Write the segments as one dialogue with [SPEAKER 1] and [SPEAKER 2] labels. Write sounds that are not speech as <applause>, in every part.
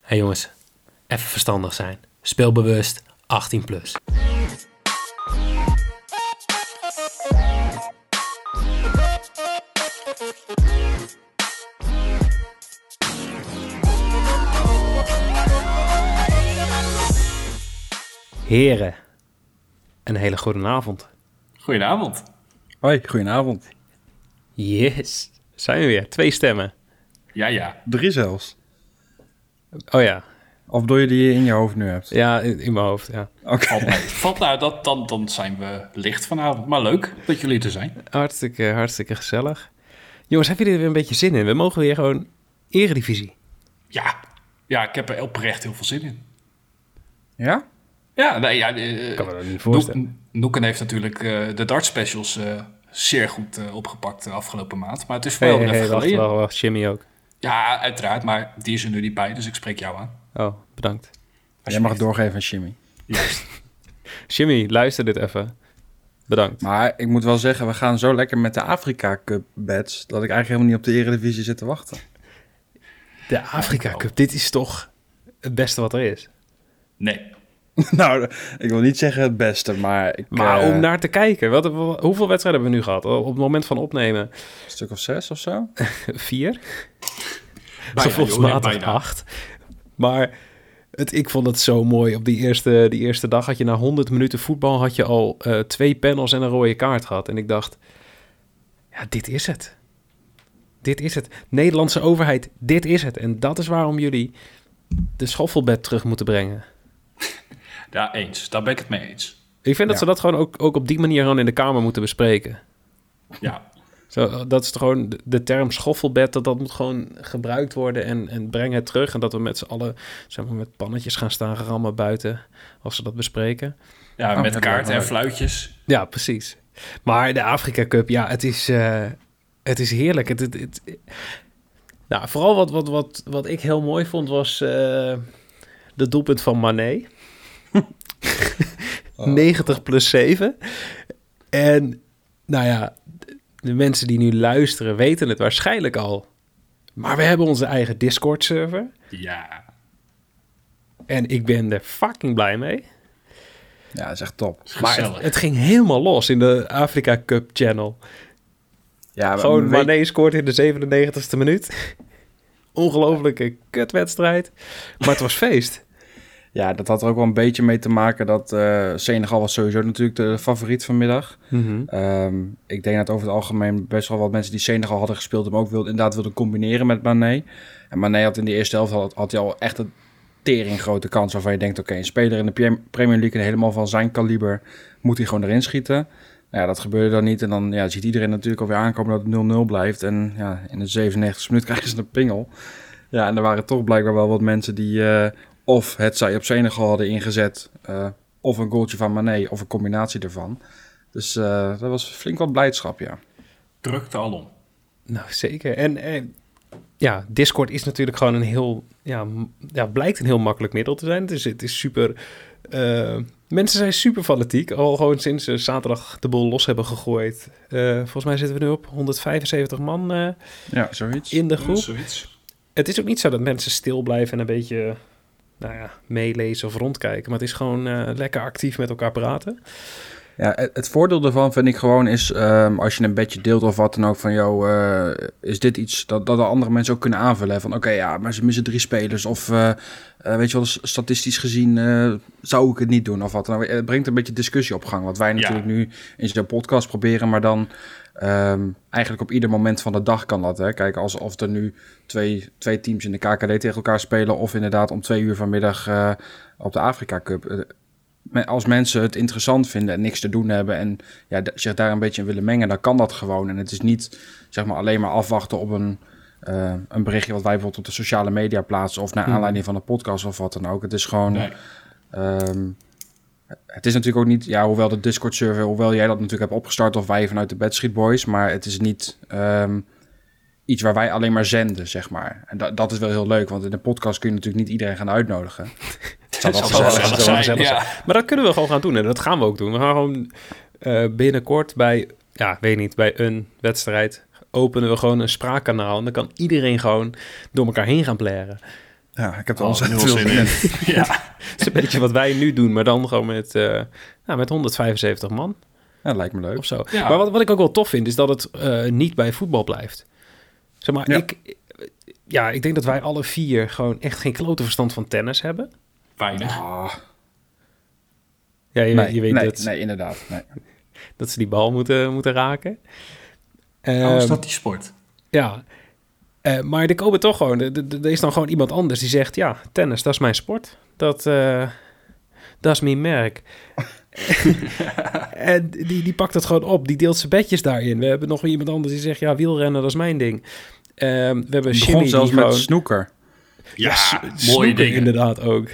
[SPEAKER 1] hey jongens, even verstandig zijn. Speelbewust 18 plus. Heren, een hele goede avond.
[SPEAKER 2] Goedenavond.
[SPEAKER 3] Hoi, goedenavond.
[SPEAKER 1] Yes, zijn we weer. Twee stemmen.
[SPEAKER 2] Ja, ja.
[SPEAKER 3] Drie zelfs.
[SPEAKER 1] Oh ja,
[SPEAKER 3] Of doe je die in je hoofd nu hebt?
[SPEAKER 1] ja in, in mijn hoofd. Ja.
[SPEAKER 3] Oké.
[SPEAKER 2] Valt, mee. <laughs> Valt nou, dat, dan, dan zijn we licht vanavond. Maar leuk dat jullie er zijn.
[SPEAKER 1] Hartstikke, hartstikke gezellig. Jongens, hebben jullie er weer een beetje zin in? We mogen weer gewoon eredivisie.
[SPEAKER 2] Ja. Ja, ik heb er oprecht heel veel zin in.
[SPEAKER 3] Ja?
[SPEAKER 2] Ja, nee, ja. eh,
[SPEAKER 1] Kan me dat niet
[SPEAKER 2] Noek,
[SPEAKER 1] voorstellen.
[SPEAKER 2] Noeken heeft natuurlijk eh, de dart specials eh, zeer goed eh, opgepakt de afgelopen maand. Maar het is wel
[SPEAKER 1] Hey,
[SPEAKER 2] weer
[SPEAKER 1] hey,
[SPEAKER 2] even
[SPEAKER 1] wacht,
[SPEAKER 2] geleden.
[SPEAKER 1] wacht, wacht, Jimmy ook.
[SPEAKER 2] Ja, uiteraard. Maar die is er nu niet bij, dus ik spreek jou aan.
[SPEAKER 1] Oh, bedankt.
[SPEAKER 3] Jij mag het doorgeven aan Jimmy.
[SPEAKER 2] Juist.
[SPEAKER 1] Jimmy, luister dit even. Bedankt.
[SPEAKER 3] Maar ik moet wel zeggen, we gaan zo lekker met de Afrika Cup bets... dat ik eigenlijk helemaal niet op de Eredivisie zit te wachten.
[SPEAKER 1] De Afrika Cup, dit is toch het beste wat er is.
[SPEAKER 2] Nee.
[SPEAKER 3] <laughs> nou, ik wil niet zeggen het beste, maar... Ik,
[SPEAKER 1] Maar
[SPEAKER 3] eh,
[SPEAKER 1] om naar te kijken, wat, wat- hoeveel wedstrijden hebben we nu gehad? Op het moment van opnemen
[SPEAKER 3] Een stuk of zes of zo?
[SPEAKER 1] vier,
[SPEAKER 2] Bijna, joh,
[SPEAKER 1] gevoelsmatig
[SPEAKER 2] bijna.
[SPEAKER 1] acht. Maar het, ik vond het zo mooi. Op die eerste, die eerste dag had je na 100 minuten voetbal had je al eh, twee panels en een rode kaart gehad. En ik dacht, ja, dit is het. Dit is het. Nederlandse overheid, dit is het. En dat is waarom jullie de schoffelbed terug moeten brengen.
[SPEAKER 2] Ja, eens. Daar ben ik het mee eens.
[SPEAKER 1] Ik vind dat
[SPEAKER 3] Ja.
[SPEAKER 1] ze dat gewoon ook, ook op die manier gewoon in de Kamer moeten bespreken.
[SPEAKER 2] Ja.
[SPEAKER 1] Zo, dat is toch gewoon de, de term schoffelbed, dat, dat moet gewoon gebruikt worden en, en breng het terug. En dat we met z'n allen zeg maar, met pannetjes gaan staan rammen buiten als ze dat bespreken.
[SPEAKER 2] Ja,
[SPEAKER 3] Oh,
[SPEAKER 2] met
[SPEAKER 3] dat
[SPEAKER 2] kaarten en
[SPEAKER 3] lijkt me
[SPEAKER 2] fluitjes.
[SPEAKER 1] Ja, precies. Maar de Afrika Cup, ja, het is, eh, het is heerlijk. Het, het, het- nou, vooral wat, wat, wat, wat ik heel mooi vond was het de doelpunt van Mané. 90 plus 7. En nou ja, de mensen die nu luisteren weten het waarschijnlijk al. Maar we hebben onze eigen Discord-server.
[SPEAKER 2] Ja.
[SPEAKER 1] En ik ben er fucking blij mee.
[SPEAKER 3] Ja, dat is echt top.
[SPEAKER 1] Maar
[SPEAKER 2] Gezellig.
[SPEAKER 1] het, het ging helemaal los in de Afrika Cup Channel.
[SPEAKER 3] Ja, we-
[SPEAKER 1] Gewoon
[SPEAKER 3] weet-
[SPEAKER 1] Mané scoort in de 97ste minuut. <laughs> Ongelofelijke kutwedstrijd. Maar het was feest. <laughs>
[SPEAKER 3] Ja, dat had er ook wel een beetje mee te maken dat eh, Senegal was sowieso natuurlijk de favoriet vanmiddag.
[SPEAKER 1] Mhm.
[SPEAKER 3] Ehm, ik denk dat over het algemeen best wel wat mensen die Senegal hadden gespeeld... hem ook wilden, inderdaad wilden combineren met Mané. En Mané had in de eerste helft had, had hij al echt een tering grote kans... waarvan je denkt, oké, een speler in de Pre- Premier League... en helemaal van zijn kaliber moet hij gewoon erin schieten. Nou ja, dat gebeurde dan niet. En dan ja, ziet iedereen natuurlijk alweer aankomen dat het 0-0 blijft. En ja, in de 97 minuut <laughs> krijgen ze een pingel. Ja, en er waren toch blijkbaar wel wat mensen die... eh, of het zij op Senegal hadden ingezet... eh, of een goaltje van Mané, of een combinatie ervan... Dus eh, dat was flink wat blijdschap, ja.
[SPEAKER 2] Drukte alom.
[SPEAKER 1] Nou, zeker. En, eh, ja, Discord is natuurlijk gewoon een heel... Ja, m- ja, blijkt een heel makkelijk middel te zijn. Dus het is super... eh, mensen zijn super fanatiek. Al gewoon sinds ze zaterdag de boel los hebben gegooid. Eh, volgens mij zitten we nu op 175 man eh,
[SPEAKER 3] Ja, zoiets.
[SPEAKER 1] in de groep.
[SPEAKER 2] Zoiets.
[SPEAKER 1] Het is ook niet zo dat mensen stil blijven en een beetje nou ja, meelezen of rondkijken. Maar het is gewoon eh, lekker actief met elkaar praten.
[SPEAKER 3] Ja, het, het voordeel daarvan vind ik gewoon is... ehm, als je een bedje deelt of wat dan ook van... joh, eh, is dit iets dat, dat de andere mensen ook kunnen aanvullen? hè? Van oké, ja, maar ze missen drie spelers. Of eh, eh, weet je wel, s- statistisch gezien eh, zou ik het niet doen of wat dan ook. Het brengt een beetje discussie op gang. Wat wij natuurlijk nu in zo'n podcast proberen... maar dan ehm, eigenlijk op ieder moment van de dag kan dat. Hè? Kijk, alsof er nu twee, twee teams in de KKD tegen elkaar spelen... of inderdaad om twee uur vanmiddag eh, op de Afrika Cup... Eh, me- als mensen het interessant vinden en niks te doen hebben en ja, d- zich daar een beetje in willen mengen, dan kan dat gewoon. En het is niet zeg maar, alleen maar afwachten op een, eh, een berichtje wat wij bijvoorbeeld op de sociale media plaatsen of naar aanleiding van een podcast of wat dan ook. Het is gewoon.
[SPEAKER 2] Nee.
[SPEAKER 3] ehm, het is natuurlijk ook niet, ja, hoewel de Discord-server, hoewel jij dat natuurlijk hebt opgestart of wij vanuit de Bad Street Boys, maar het is niet ehm, iets waar wij alleen maar zenden, zeg maar. En da- dat is wel heel leuk, want in een podcast kun je natuurlijk niet iedereen gaan uitnodigen. Het zou wel
[SPEAKER 2] Zal wel
[SPEAKER 3] gezellig zijn.
[SPEAKER 2] gezellig
[SPEAKER 1] Zal wel
[SPEAKER 2] zijn,
[SPEAKER 1] gezellig
[SPEAKER 2] ja.
[SPEAKER 1] Maar dat kunnen we gewoon gaan doen en dat gaan we ook doen. We gaan gewoon eh, binnenkort bij, ja, weet niet, bij een wedstrijd openen we gewoon een spraakkanaal. En dan kan iedereen gewoon door elkaar heen gaan pleren.
[SPEAKER 3] Ja, ik heb er
[SPEAKER 2] Oh,
[SPEAKER 3] al
[SPEAKER 2] nul
[SPEAKER 3] veel
[SPEAKER 2] zin
[SPEAKER 3] zin in.
[SPEAKER 2] <laughs> in. ja.
[SPEAKER 1] Het <laughs> is een beetje wat wij nu doen, maar dan gewoon met, eh, nou, met 175 man
[SPEAKER 3] Ja, lijkt me leuk.
[SPEAKER 1] of zo.
[SPEAKER 2] Ja.
[SPEAKER 1] Maar wat, wat ik ook wel tof vind, is dat het eh, niet bij voetbal blijft. Zeg maar,
[SPEAKER 3] Ja.
[SPEAKER 1] ik, ja, ik denk dat wij alle vier gewoon echt geen klote verstand van tennis hebben.
[SPEAKER 2] Weinig.
[SPEAKER 1] Ah, Ja, je,
[SPEAKER 3] nee,
[SPEAKER 1] je weet
[SPEAKER 3] nee,
[SPEAKER 1] dat,
[SPEAKER 3] nee, inderdaad. Nee.
[SPEAKER 1] dat ze die bal moeten, moeten raken.
[SPEAKER 2] Hoe is
[SPEAKER 1] Ehm,
[SPEAKER 2] dat die sport?
[SPEAKER 1] Ja. Eh, maar er komen toch gewoon... Er, er- er is dan gewoon iemand anders die zegt... Ja, tennis, dat is mijn sport. Dat, eh, dat is mijn merk. en die, die pakt het gewoon op. Die deelt zijn bedjes daarin. We hebben nog weer iemand anders die zegt... Ja, wielrennen, dat is mijn ding. Ehm, we hebben
[SPEAKER 3] Het
[SPEAKER 1] Jimmy
[SPEAKER 3] begon
[SPEAKER 1] die
[SPEAKER 3] zelfs met
[SPEAKER 1] gewoon-
[SPEAKER 3] snoeker.
[SPEAKER 2] Ja,
[SPEAKER 1] s-
[SPEAKER 2] Ah, mooie
[SPEAKER 1] snoeker
[SPEAKER 2] dingen.
[SPEAKER 1] inderdaad ook.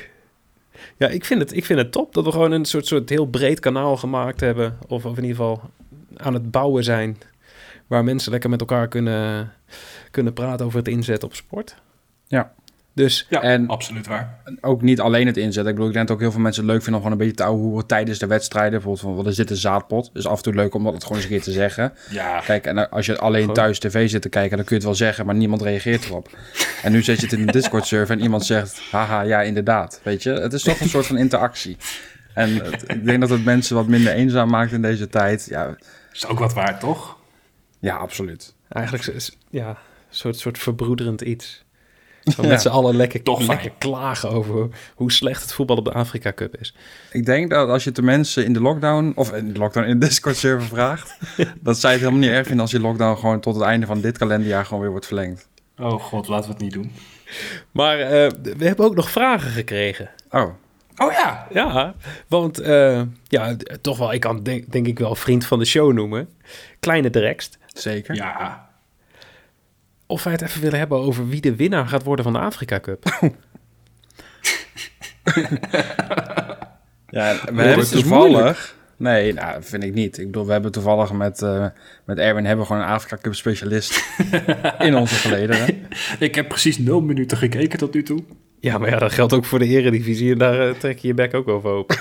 [SPEAKER 1] Ja, ik vind, het, ik vind het top dat we gewoon een soort, soort heel breed kanaal gemaakt hebben. Of, of in ieder geval aan het bouwen zijn. Waar mensen lekker met elkaar kunnen, kunnen praten over het inzetten op sport.
[SPEAKER 3] Ja.
[SPEAKER 1] Dus
[SPEAKER 2] Ja,
[SPEAKER 3] en-
[SPEAKER 2] absoluut waar.
[SPEAKER 3] Ook niet alleen het inzetten. Ik bedoel, ik denk dat ook heel veel mensen het leuk vinden om gewoon een beetje te ouwehoeren tijdens de wedstrijden. Bijvoorbeeld van, wat is dit, een zaadpot? Dus af en toe leuk om dat gewoon eens een keer te zeggen.
[SPEAKER 2] Ja,
[SPEAKER 3] Kijk, en als je alleen
[SPEAKER 1] Gewoon.
[SPEAKER 3] thuis tv zit te kijken, dan kun je het wel zeggen, maar niemand reageert erop. En nu zit je het in een Discord-server en iemand zegt, haha, ja, inderdaad. Weet je, het is toch een soort van interactie. En het- ik denk dat het mensen wat minder eenzaam maakt in deze tijd. Ja,
[SPEAKER 2] is ook wat waar, toch?
[SPEAKER 3] ja absoluut.
[SPEAKER 1] eigenlijk zo- is- ja, een soort, soort verbroederend
[SPEAKER 2] <laughs>
[SPEAKER 1] iets. Van
[SPEAKER 3] Ja.
[SPEAKER 1] met z'n allen lekker,
[SPEAKER 2] Toch fijn.
[SPEAKER 1] lekker klagen over hoe slecht het voetbal op de Afrika Cup is.
[SPEAKER 3] Ik denk dat als je het de mensen in de lockdown, of in de lockdown, in de Discord-server vraagt, dat zij het helemaal niet erg vinden als die lockdown gewoon tot het einde van dit kalenderjaar gewoon weer wordt verlengd.
[SPEAKER 2] Oh god, laten we het niet doen.
[SPEAKER 1] Maar eh, we hebben ook nog vragen gekregen.
[SPEAKER 3] Oh,
[SPEAKER 2] Oh ja,
[SPEAKER 1] Ja, want eh, ja, d- toch wel, ik kan denk, denk ik wel vriend van de show noemen. Kleine Drekst.
[SPEAKER 3] zeker.
[SPEAKER 2] ja.
[SPEAKER 1] Of wij het even willen hebben over wie de winnaar gaat worden van de Afrika Cup.
[SPEAKER 3] Ja, we
[SPEAKER 1] dit
[SPEAKER 3] hebben
[SPEAKER 1] is
[SPEAKER 3] toevallig. Nee, nou, vind ik niet. Ik bedoel, we hebben toevallig met, eh, met Erwin hebben we gewoon een Afrika Cup specialist in onze gelederen.
[SPEAKER 2] Ik heb precies nul minuten gekeken tot nu toe.
[SPEAKER 1] Ja, maar ja, dat geldt ook voor de eredivisie en daar eh, trek je je bek ook over open.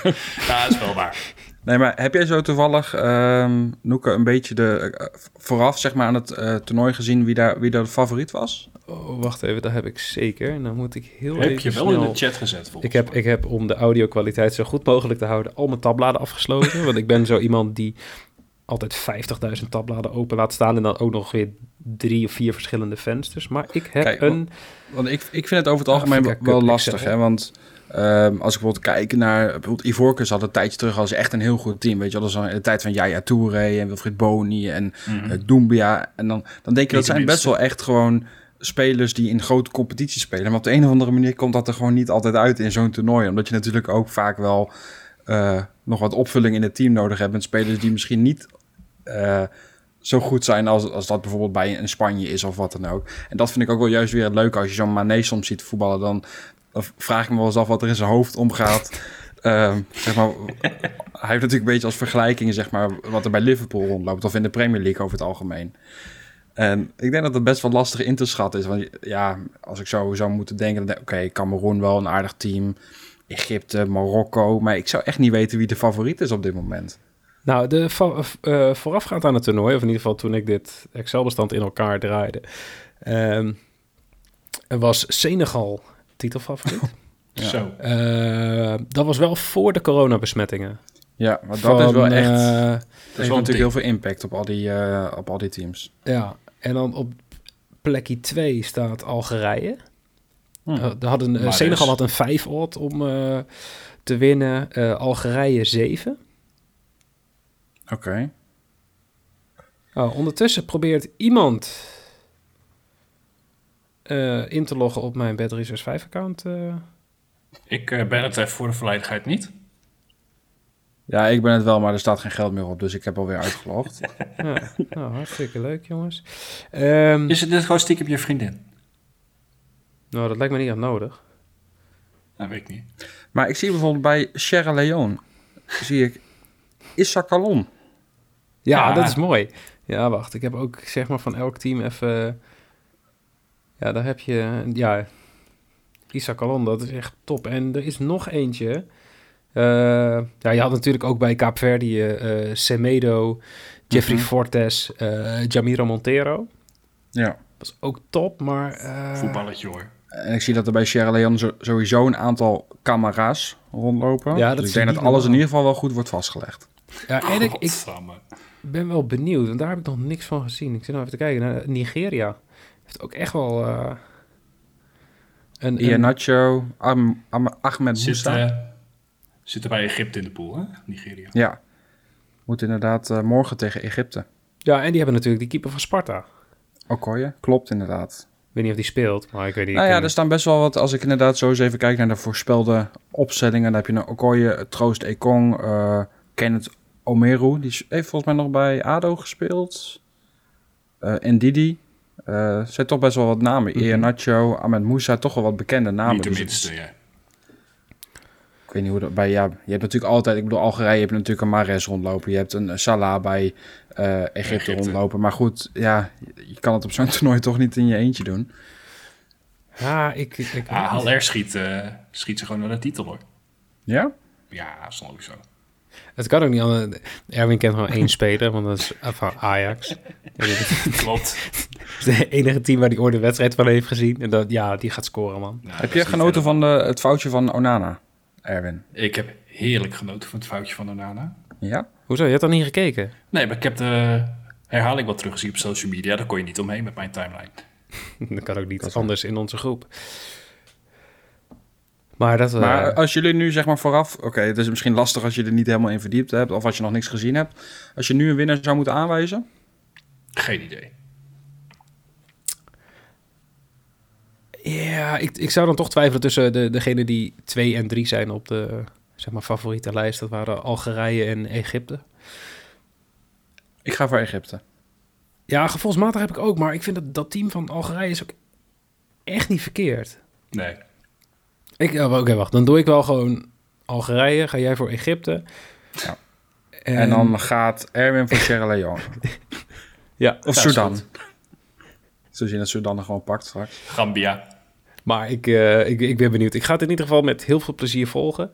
[SPEAKER 2] Ja, dat is wel waar.
[SPEAKER 3] Nee, maar heb jij zo toevallig, ehm Noeke, een beetje de, eh, vooraf zeg maar, aan het eh, toernooi gezien wie daar, wie daar de favoriet was?
[SPEAKER 1] Oh, wacht even, dat heb ik zeker. En dan moet ik heel
[SPEAKER 2] Heb
[SPEAKER 1] even
[SPEAKER 2] je wel
[SPEAKER 1] snel-
[SPEAKER 2] in de chat gezet, volgens
[SPEAKER 1] Ik heb, ik heb om de audio-kwaliteit zo goed mogelijk te houden al mijn tabbladen afgesloten. want ik ben zo iemand die altijd 50.000 tabbladen open laat staan en dan ook nog weer drie of vier verschillende vensters. Maar ik heb
[SPEAKER 3] Kijk,
[SPEAKER 1] een...
[SPEAKER 3] Want ik, ik vind het over het algemeen
[SPEAKER 1] Afrika
[SPEAKER 3] wel
[SPEAKER 1] Cup,
[SPEAKER 3] lastig.
[SPEAKER 1] Excel.
[SPEAKER 3] Hè? Want ehm, als ik bijvoorbeeld kijk naar... Bijvoorbeeld Ivorcus had een tijdje terug als echt een heel goed team. Weet je, wel. dat was in de tijd van Jaya Touré en Wilfried Boni en eh, Doumbia. En dan, dan denk je, dat
[SPEAKER 2] Mm. de
[SPEAKER 3] zijn best
[SPEAKER 2] minste.
[SPEAKER 3] wel echt gewoon spelers die in grote competities spelen. Maar op de een of andere manier komt dat er gewoon niet altijd uit in zo'n toernooi. Omdat je natuurlijk ook vaak wel eh, nog wat opvulling in het team nodig hebt. Met spelers die misschien niet... eh, zo goed zijn als, als dat bijvoorbeeld bij een Spanje is of wat dan ook. En dat vind ik ook wel juist weer het leuke als je zo'n Mané soms ziet voetballen. Dan, dan vraag ik me wel eens af wat er in zijn hoofd omgaat. <laughs> Ehm, zeg maar, hij heeft natuurlijk een beetje als vergelijking zeg maar, wat er bij Liverpool rondloopt. Of in de Premier League over het algemeen. En ik denk dat het best wel lastig in te schatten is. Want ja, als ik zo zou moeten denken. dan denk ik, Oké, Cameroen wel een aardig team. Egypte, Marokko. Maar ik zou echt niet weten wie de favoriet is op dit moment.
[SPEAKER 1] Nou, de, va- eh, voorafgaand aan het toernooi, of in ieder geval toen ik dit Excel-bestand in elkaar draaide, ehm, was Senegal
[SPEAKER 3] <laughs>
[SPEAKER 1] titelfavoriet.
[SPEAKER 2] mij. Zo.
[SPEAKER 1] Eh, dat was wel voor de coronabesmettingen.
[SPEAKER 3] Ja, maar dat
[SPEAKER 1] Van,
[SPEAKER 3] is wel echt...
[SPEAKER 1] eh,
[SPEAKER 3] Dat
[SPEAKER 2] wel
[SPEAKER 3] heeft natuurlijk
[SPEAKER 2] een
[SPEAKER 3] heel veel impact op al die, eh, op al die teams.
[SPEAKER 1] Ja, en dan op plekje 2 staat Algerije.
[SPEAKER 3] Hmm.
[SPEAKER 1] Eh, daar hadden, eh,
[SPEAKER 2] Maar
[SPEAKER 1] Senegal
[SPEAKER 2] dus.
[SPEAKER 1] had een 5 odd om eh, te winnen. Eh, Algerije 7.
[SPEAKER 3] Oké.
[SPEAKER 1] Oh, ondertussen probeert iemand eh, in te loggen op mijn Bad 5 account. eh.
[SPEAKER 2] Ik eh, ben het eh, voor de volledigheid niet.
[SPEAKER 3] Ja, ik ben het wel, maar er staat geen geld meer op, dus ik heb alweer uitgelogd.
[SPEAKER 1] ja, nou, hartstikke leuk jongens. Ehm,
[SPEAKER 2] Is het dit gewoon stiekem je vriendin?
[SPEAKER 1] Nou, dat lijkt me niet echt nodig.
[SPEAKER 2] Dat Nou, weet ik niet.
[SPEAKER 3] <laughs> maar ik zie bijvoorbeeld bij Sierra Leone, zie ik Issa Kalon.
[SPEAKER 1] Ja,
[SPEAKER 2] Ja.
[SPEAKER 1] dat is mooi. Ja, wacht. Ik heb ook zeg maar van elk team even. Ja, daar heb je. Ja, Isaac Alon, dat is echt top. En er is nog eentje. Eh, ja, je had natuurlijk ook bij Kaapverdië eh Semedo, Jeffrey Fortes, eh Jamiro Montero.
[SPEAKER 3] Ja.
[SPEAKER 1] Dat is ook top, maar. eh,
[SPEAKER 2] Voetballetje hoor.
[SPEAKER 3] En ik zie dat er bij Sierra Leone zo- sowieso een aantal camera's rondlopen.
[SPEAKER 1] Ja, dat
[SPEAKER 3] dus
[SPEAKER 1] is
[SPEAKER 3] ik denk dat
[SPEAKER 1] niet
[SPEAKER 3] alles in
[SPEAKER 1] normaal.
[SPEAKER 3] ieder geval wel goed wordt vastgelegd.
[SPEAKER 1] Ja, en ik, ik
[SPEAKER 2] Godsamme.
[SPEAKER 1] ben wel benieuwd, want daar heb ik nog niks van gezien. Ik zit nou even te kijken naar Nigeria. Heeft ook echt wel... eh een, een-
[SPEAKER 3] Ianacho, Am- Am- Ahmed
[SPEAKER 2] Zit,
[SPEAKER 3] Moussa.
[SPEAKER 2] eh, zitten bij Egypte in de pool, hè? Nigeria.
[SPEAKER 3] Ja. Moet inderdaad eh, morgen tegen Egypte.
[SPEAKER 1] ja, en die hebben natuurlijk die keeper van Sparta.
[SPEAKER 3] Okoye, klopt inderdaad.
[SPEAKER 1] Ik weet niet of die speelt, maar ik weet niet.
[SPEAKER 3] nou
[SPEAKER 1] ik
[SPEAKER 3] ja,
[SPEAKER 1] ken-
[SPEAKER 3] er staan best wel wat. Als ik inderdaad zo eens even kijk naar de voorspelde opstellingen, dan heb je nou Okoye, Troost Ekong, eh Kenneth Omeru. Die is- heeft volgens mij nog bij ADO gespeeld. Eh en Didi. Eh zijn toch best wel wat namen.
[SPEAKER 1] Mhm.
[SPEAKER 3] Ian Nacho, Ahmed Moussa, toch wel wat bekende namen.
[SPEAKER 2] Niet de
[SPEAKER 3] Dus ik-
[SPEAKER 2] minste, ja.
[SPEAKER 3] Ik weet niet hoe dat bij ja, je hebt natuurlijk altijd, ik bedoel Algerije heb je natuurlijk een Mares rondlopen, je hebt een eh, Salah bij eh, Egypte,
[SPEAKER 2] Egypte.
[SPEAKER 3] rondlopen, maar goed, ja, je- je kan het op zo'n <laughs> toernooi toch niet in je eentje doen.
[SPEAKER 1] Ja, ik... ik, ik
[SPEAKER 2] Ah, HLR schiet, eh, schiet ze gewoon naar de titel, hoor.
[SPEAKER 3] Ja?
[SPEAKER 2] Ja, snap ik zo.
[SPEAKER 1] Het kan ook niet anders. Erwin kent gewoon één speler, want dat is eh, van <laughs> Ajax. En dit is
[SPEAKER 2] Klopt.
[SPEAKER 1] het enige team waar die ooit een wedstrijd van heeft gezien. En dat, ja, die gaat scoren, man.
[SPEAKER 2] <laughs> Nou, dat
[SPEAKER 3] heb
[SPEAKER 2] is
[SPEAKER 3] je
[SPEAKER 2] niet
[SPEAKER 3] genoten
[SPEAKER 2] verder.
[SPEAKER 3] van de, het foutje van Onana, Erwin?
[SPEAKER 2] Ik heb heerlijk genoten van het foutje van Onana.
[SPEAKER 3] Ja?
[SPEAKER 1] Hoezo? Je hebt dat niet gekeken?
[SPEAKER 2] Nee, maar ik heb de herhaling wat teruggezien op social media. Daar kon je niet omheen met mijn timeline.
[SPEAKER 1] <laughs> Dat kan ook niet anders in onze groep. Maar dat... eh,
[SPEAKER 3] Maar als jullie nu zeg maar vooraf, oké, het is misschien lastig als je er niet helemaal in verdiept hebt of als je nog niks gezien hebt, als je nu een winnaar zou moeten aanwijzen,
[SPEAKER 2] Geen idee.
[SPEAKER 1] Ja, ik, ik zou dan toch twijfelen tussen de, degene die 2 en 3 zijn op de zeg maar, favoriete lijst. Dat waren Algerije en Egypte.
[SPEAKER 3] ik ga voor Egypte.
[SPEAKER 1] Ja, gevoelsmatig heb ik ook, maar ik vind dat dat team van Algerije is ook echt niet verkeerd.
[SPEAKER 2] Nee.
[SPEAKER 1] Ik, oh, Oké, wacht. Dan doe ik wel gewoon Algerije. Ga jij voor Egypte?
[SPEAKER 3] Ja.
[SPEAKER 1] En,
[SPEAKER 3] En dan gaat Erwin voor Sierra Leone. <laughs>
[SPEAKER 1] Ja,
[SPEAKER 3] Of
[SPEAKER 2] Ja, is
[SPEAKER 3] Sudan.
[SPEAKER 2] goed.
[SPEAKER 3] Zo zien dat Sudan er gewoon pakt straks.
[SPEAKER 2] Gambia.
[SPEAKER 1] maar ik, eh, ik, ik ben benieuwd. Ik ga het in ieder geval met heel veel plezier volgen.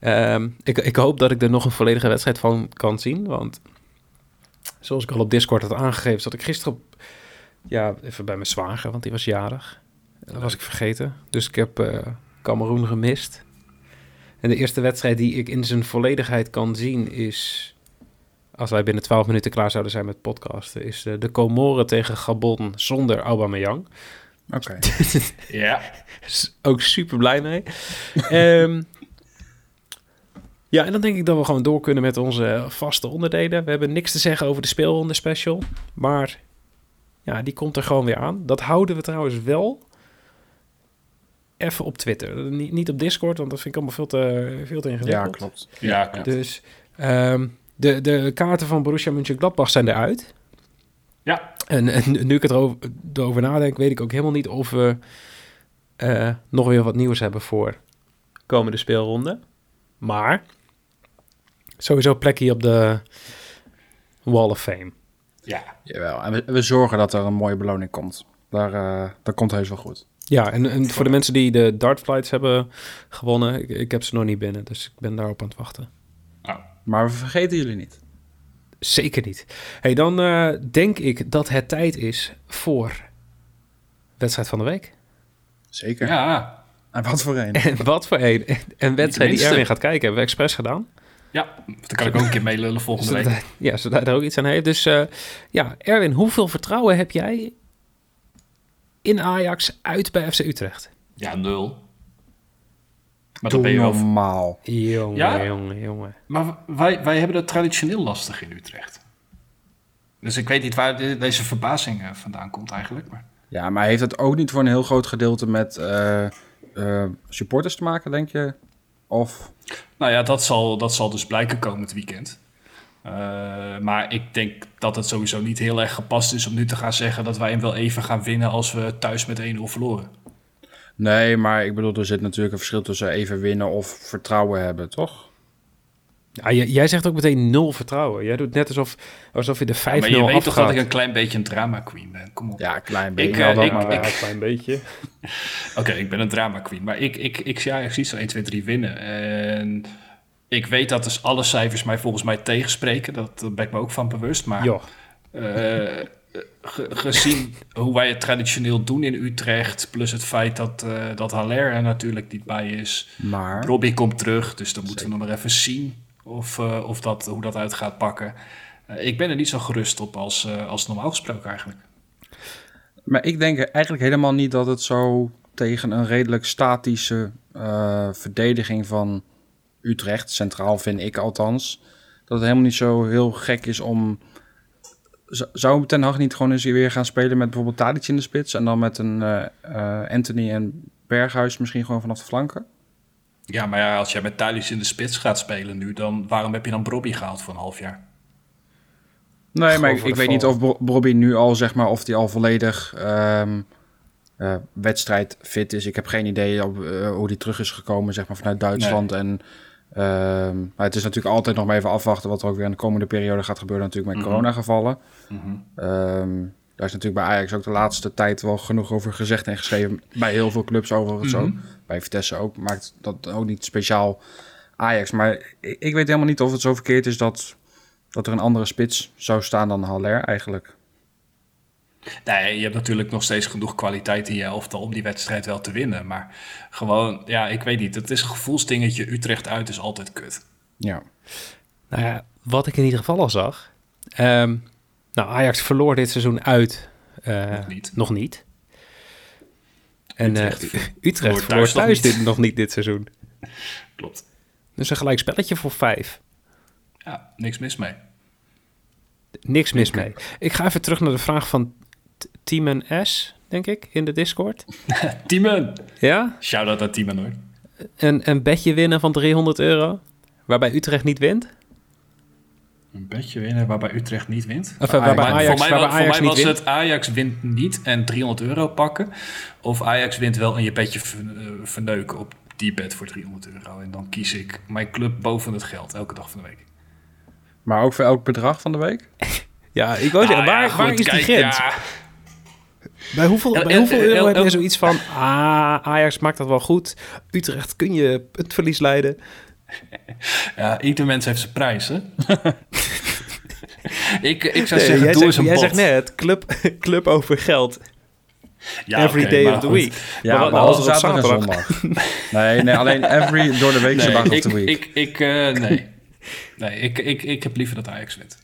[SPEAKER 1] Ehm, ik, ik hoop dat ik er nog een volledige wedstrijd van kan zien. Want zoals ik al op Discord had aangegeven, zat ik gisteren op, ja, even bij mijn zwager, want die was jarig. Dat was ik vergeten. Dus ik heb eh Cameroen gemist. En de eerste wedstrijd die ik in zijn volledigheid kan zien is... Als wij binnen 12 minuten klaar zouden zijn met podcasten... is eh, de Comoren tegen Gabon zonder Aubameyang.
[SPEAKER 3] Oké.
[SPEAKER 2] Ja.
[SPEAKER 1] <laughs> S- ook super blij mee. Ehm, ja, en dan denk ik dat we gewoon door kunnen met onze vaste onderdelen. We hebben niks te zeggen over de speelronde special. Maar ja, die komt er gewoon weer aan. Dat houden we trouwens wel even op Twitter. Niet, niet op Discord, want dat vind ik allemaal veel te, veel te ingewikkeld.
[SPEAKER 3] <laughs> Ja, klopt.
[SPEAKER 2] Ja, klopt.
[SPEAKER 1] Dus ehm, de, de kaarten van Borussia Mönchengladbach zijn eruit.
[SPEAKER 2] Ja.
[SPEAKER 1] En, en nu ik het erover, erover nadenk, weet ik ook helemaal niet of we eh, nog weer wat nieuws hebben voor komende speelronde. Maar sowieso plekje op de Wall of Fame.
[SPEAKER 2] Ja.
[SPEAKER 3] Jawel, en we, we zorgen dat er een mooie beloning komt. Daar, eh, dat komt heus wel goed.
[SPEAKER 1] Ja, en, en voor de mensen die de dartflights hebben gewonnen, ik, ik heb ze nog niet binnen, dus ik ben daarop aan het wachten.
[SPEAKER 2] Nou,
[SPEAKER 3] Maar we vergeten jullie niet.
[SPEAKER 1] Zeker niet. hey, dan eh, denk ik dat het tijd is voor wedstrijd van de week.
[SPEAKER 3] Zeker.
[SPEAKER 2] ja.
[SPEAKER 3] En wat voor een.
[SPEAKER 1] <laughs> En wat voor een. En wedstrijd die
[SPEAKER 2] minste.
[SPEAKER 1] Erwin gaat kijken, hebben we expres gedaan.
[SPEAKER 2] Ja. Dan kan ik ook een keer meelullen volgende
[SPEAKER 1] Zodat
[SPEAKER 2] week.
[SPEAKER 1] hij- <laughs> ja, zodat hij er ook iets aan heeft. Dus eh, ja, Erwin, hoeveel vertrouwen heb jij in Ajax uit bij FC Utrecht?
[SPEAKER 2] Ja, nul. Maar dan ben
[SPEAKER 3] Doe
[SPEAKER 2] je wel
[SPEAKER 3] normaal.
[SPEAKER 1] Jongen,
[SPEAKER 2] Ja?
[SPEAKER 1] jongen, jongen.
[SPEAKER 2] Maar wij, wij hebben het traditioneel lastig in Utrecht. Dus ik weet niet waar de- deze verbazing eh, vandaan komt eigenlijk. Maar
[SPEAKER 3] Ja, maar heeft dat ook niet voor een heel groot gedeelte met eh, eh, supporters te maken, denk je? Of...
[SPEAKER 2] nou ja, dat zal, dat zal dus blijken komend weekend. Eh, maar ik denk dat het sowieso niet heel erg gepast is om nu te gaan zeggen dat wij hem wel even gaan winnen als we thuis met 1-0 verloren.
[SPEAKER 3] Nee, maar ik bedoel, er zit natuurlijk een verschil tussen even winnen of vertrouwen hebben, toch?
[SPEAKER 1] Ja, Ah, jij, jij zegt ook meteen nul vertrouwen. Jij doet net alsof, alsof je de 5-0
[SPEAKER 2] Ja, maar je weet toch dat
[SPEAKER 1] afgaat.
[SPEAKER 2] ik een klein beetje een drama queen ben. Kom op.
[SPEAKER 3] Ja, klein
[SPEAKER 2] beetje.
[SPEAKER 3] beetje.
[SPEAKER 2] eh,
[SPEAKER 1] Nou, dan
[SPEAKER 2] ik-
[SPEAKER 1] maar
[SPEAKER 2] ik-
[SPEAKER 1] een klein beetje.
[SPEAKER 2] Oké, ik ben een drama queen. Maar ik, ik, ik zie Ajax niet zo 1, 2, 3 winnen. En ik weet dat dus alle cijfers mij volgens mij tegenspreken. Dat, daar ben ik me ook van bewust. Maar
[SPEAKER 1] Joh.
[SPEAKER 2] Eh, ge- gezien hoe wij het traditioneel doen in Utrecht, plus het feit dat, eh dat Haller er natuurlijk niet bij is.
[SPEAKER 3] Maar
[SPEAKER 2] Robbie komt terug, dus dan moeten we nog maar even zien of, eh, of dat, hoe dat uit gaat pakken. Eh, ik ben er niet zo gerust op als, eh, als normaal gesproken eigenlijk.
[SPEAKER 3] Maar ik denk eigenlijk helemaal niet dat het zo tegen een redelijk statische eh, verdediging van Utrecht, centraal vind ik althans, dat het helemaal niet zo heel gek is om. Z- Zou Ten Hag niet gewoon eens weer gaan spelen met bijvoorbeeld Tadic in de spits en dan met een eh, eh, Anthony en Berghuis misschien gewoon vanaf de flanken?
[SPEAKER 2] Ja, maar ja, als jij met Thalys in de spits gaat spelen nu, dan waarom heb je dan Robbie gehaald voor een half jaar?
[SPEAKER 3] Nee,
[SPEAKER 1] Gewoon
[SPEAKER 3] maar ik,
[SPEAKER 1] voor de
[SPEAKER 3] ik weet niet
[SPEAKER 1] val.
[SPEAKER 3] of Bro- Bobby nu al, zeg maar, of hij al volledig ehm eh, wedstrijdfit is. Ik heb geen idee op, eh, hoe hij terug is gekomen, zeg maar, vanuit Duitsland. En, ehm, maar het is natuurlijk altijd nog maar even afwachten wat er ook weer in de komende periode gaat gebeuren, natuurlijk met
[SPEAKER 2] Mhm.
[SPEAKER 3] coronagevallen. Ehm, daar is natuurlijk bij Ajax ook de laatste tijd wel genoeg over gezegd en geschreven. Bij heel veel clubs overigens
[SPEAKER 2] Mhm.
[SPEAKER 3] ook. Bij Vitesse ook. Maakt dat ook niet speciaal Ajax. Maar ik, ik weet helemaal niet of het zo verkeerd is dat, dat er een andere spits zou staan dan Haller eigenlijk.
[SPEAKER 2] Nee, je hebt natuurlijk nog steeds genoeg kwaliteit in je elftal om die wedstrijd wel te winnen. Maar gewoon, ja, ik weet niet. Het is een gevoelsdingetje. Utrecht uit is altijd kut.
[SPEAKER 3] Ja.
[SPEAKER 1] Nou ja, wat ik in ieder geval al zag. ehm, nou, Ajax verloor dit seizoen uit. eh,
[SPEAKER 2] Nog niet.
[SPEAKER 1] Nog niet. En eh,
[SPEAKER 2] Utrecht
[SPEAKER 1] <laughs> Utrecht,
[SPEAKER 2] verloor
[SPEAKER 1] verloor
[SPEAKER 2] thuis nog
[SPEAKER 1] thuis
[SPEAKER 2] niet.
[SPEAKER 1] dit, nog niet dit seizoen.
[SPEAKER 2] Klopt.
[SPEAKER 1] Dus een gelijk spelletje voor vijf.
[SPEAKER 2] Ja, niks mis mee.
[SPEAKER 1] Niks mis mee. Ik ga even terug naar de vraag van T- Timen S, denk ik, in de Discord.
[SPEAKER 2] Timen!
[SPEAKER 1] Ja?
[SPEAKER 2] Shout-out aan Timen hoor.
[SPEAKER 1] Een, een bedje winnen van 300 euro, waarbij Utrecht niet wint.
[SPEAKER 2] Een bedje winnen waarbij Utrecht niet wint.
[SPEAKER 1] Of eh,
[SPEAKER 3] Ajax-
[SPEAKER 1] waarbij
[SPEAKER 3] Maar
[SPEAKER 1] Ajax,
[SPEAKER 2] Nou, voor mij,
[SPEAKER 1] waarbij
[SPEAKER 2] wa- voor
[SPEAKER 1] Ajax
[SPEAKER 2] mij
[SPEAKER 1] niet
[SPEAKER 2] was
[SPEAKER 1] wint.
[SPEAKER 2] het Ajax wint niet en 300 euro pakken. Of Ajax wint wel en je bedje ver- eh, verneuken op die bed voor 300 euro. En dan kies ik mijn club boven het geld elke dag van de week.
[SPEAKER 3] Maar ook voor elk bedrag van de week?
[SPEAKER 1] Oh Ja, ik wou zeggen,
[SPEAKER 2] Ah,
[SPEAKER 1] waar,
[SPEAKER 2] ja,
[SPEAKER 1] waar
[SPEAKER 2] goed,
[SPEAKER 1] is die
[SPEAKER 2] kijk,
[SPEAKER 1] grens?
[SPEAKER 2] ja.
[SPEAKER 1] Bij hoeveel,
[SPEAKER 2] El-
[SPEAKER 1] bij
[SPEAKER 2] el-
[SPEAKER 1] hoeveel
[SPEAKER 2] el-
[SPEAKER 1] euro
[SPEAKER 2] el-
[SPEAKER 1] heb
[SPEAKER 2] el-
[SPEAKER 1] je zoiets van... Ah, Ajax maakt dat wel goed. Utrecht kun je het verlies leiden.
[SPEAKER 2] Ja, ieder mens heeft zijn prijs, hè?
[SPEAKER 1] <laughs>
[SPEAKER 2] ik, ik zou
[SPEAKER 1] Nee,
[SPEAKER 2] zeggen,
[SPEAKER 1] jij
[SPEAKER 2] doe eens
[SPEAKER 1] zegt,
[SPEAKER 2] een
[SPEAKER 1] jij
[SPEAKER 2] bot.
[SPEAKER 1] zegt net, club, <laughs> club over geld.
[SPEAKER 2] Ja,
[SPEAKER 1] every
[SPEAKER 2] oké,
[SPEAKER 1] day
[SPEAKER 2] maar
[SPEAKER 1] of the
[SPEAKER 2] goed.
[SPEAKER 1] week.
[SPEAKER 3] Ja,
[SPEAKER 1] wat nou
[SPEAKER 3] behalve
[SPEAKER 1] als het op zaterdag?
[SPEAKER 3] en zondag. <laughs> nee, nee, alleen every door de weekse
[SPEAKER 2] Nee,
[SPEAKER 3] dag of
[SPEAKER 2] ik,
[SPEAKER 3] the week.
[SPEAKER 2] ik, ik, eh, nee. nee ik, ik, ik heb liever dat Ajax wint.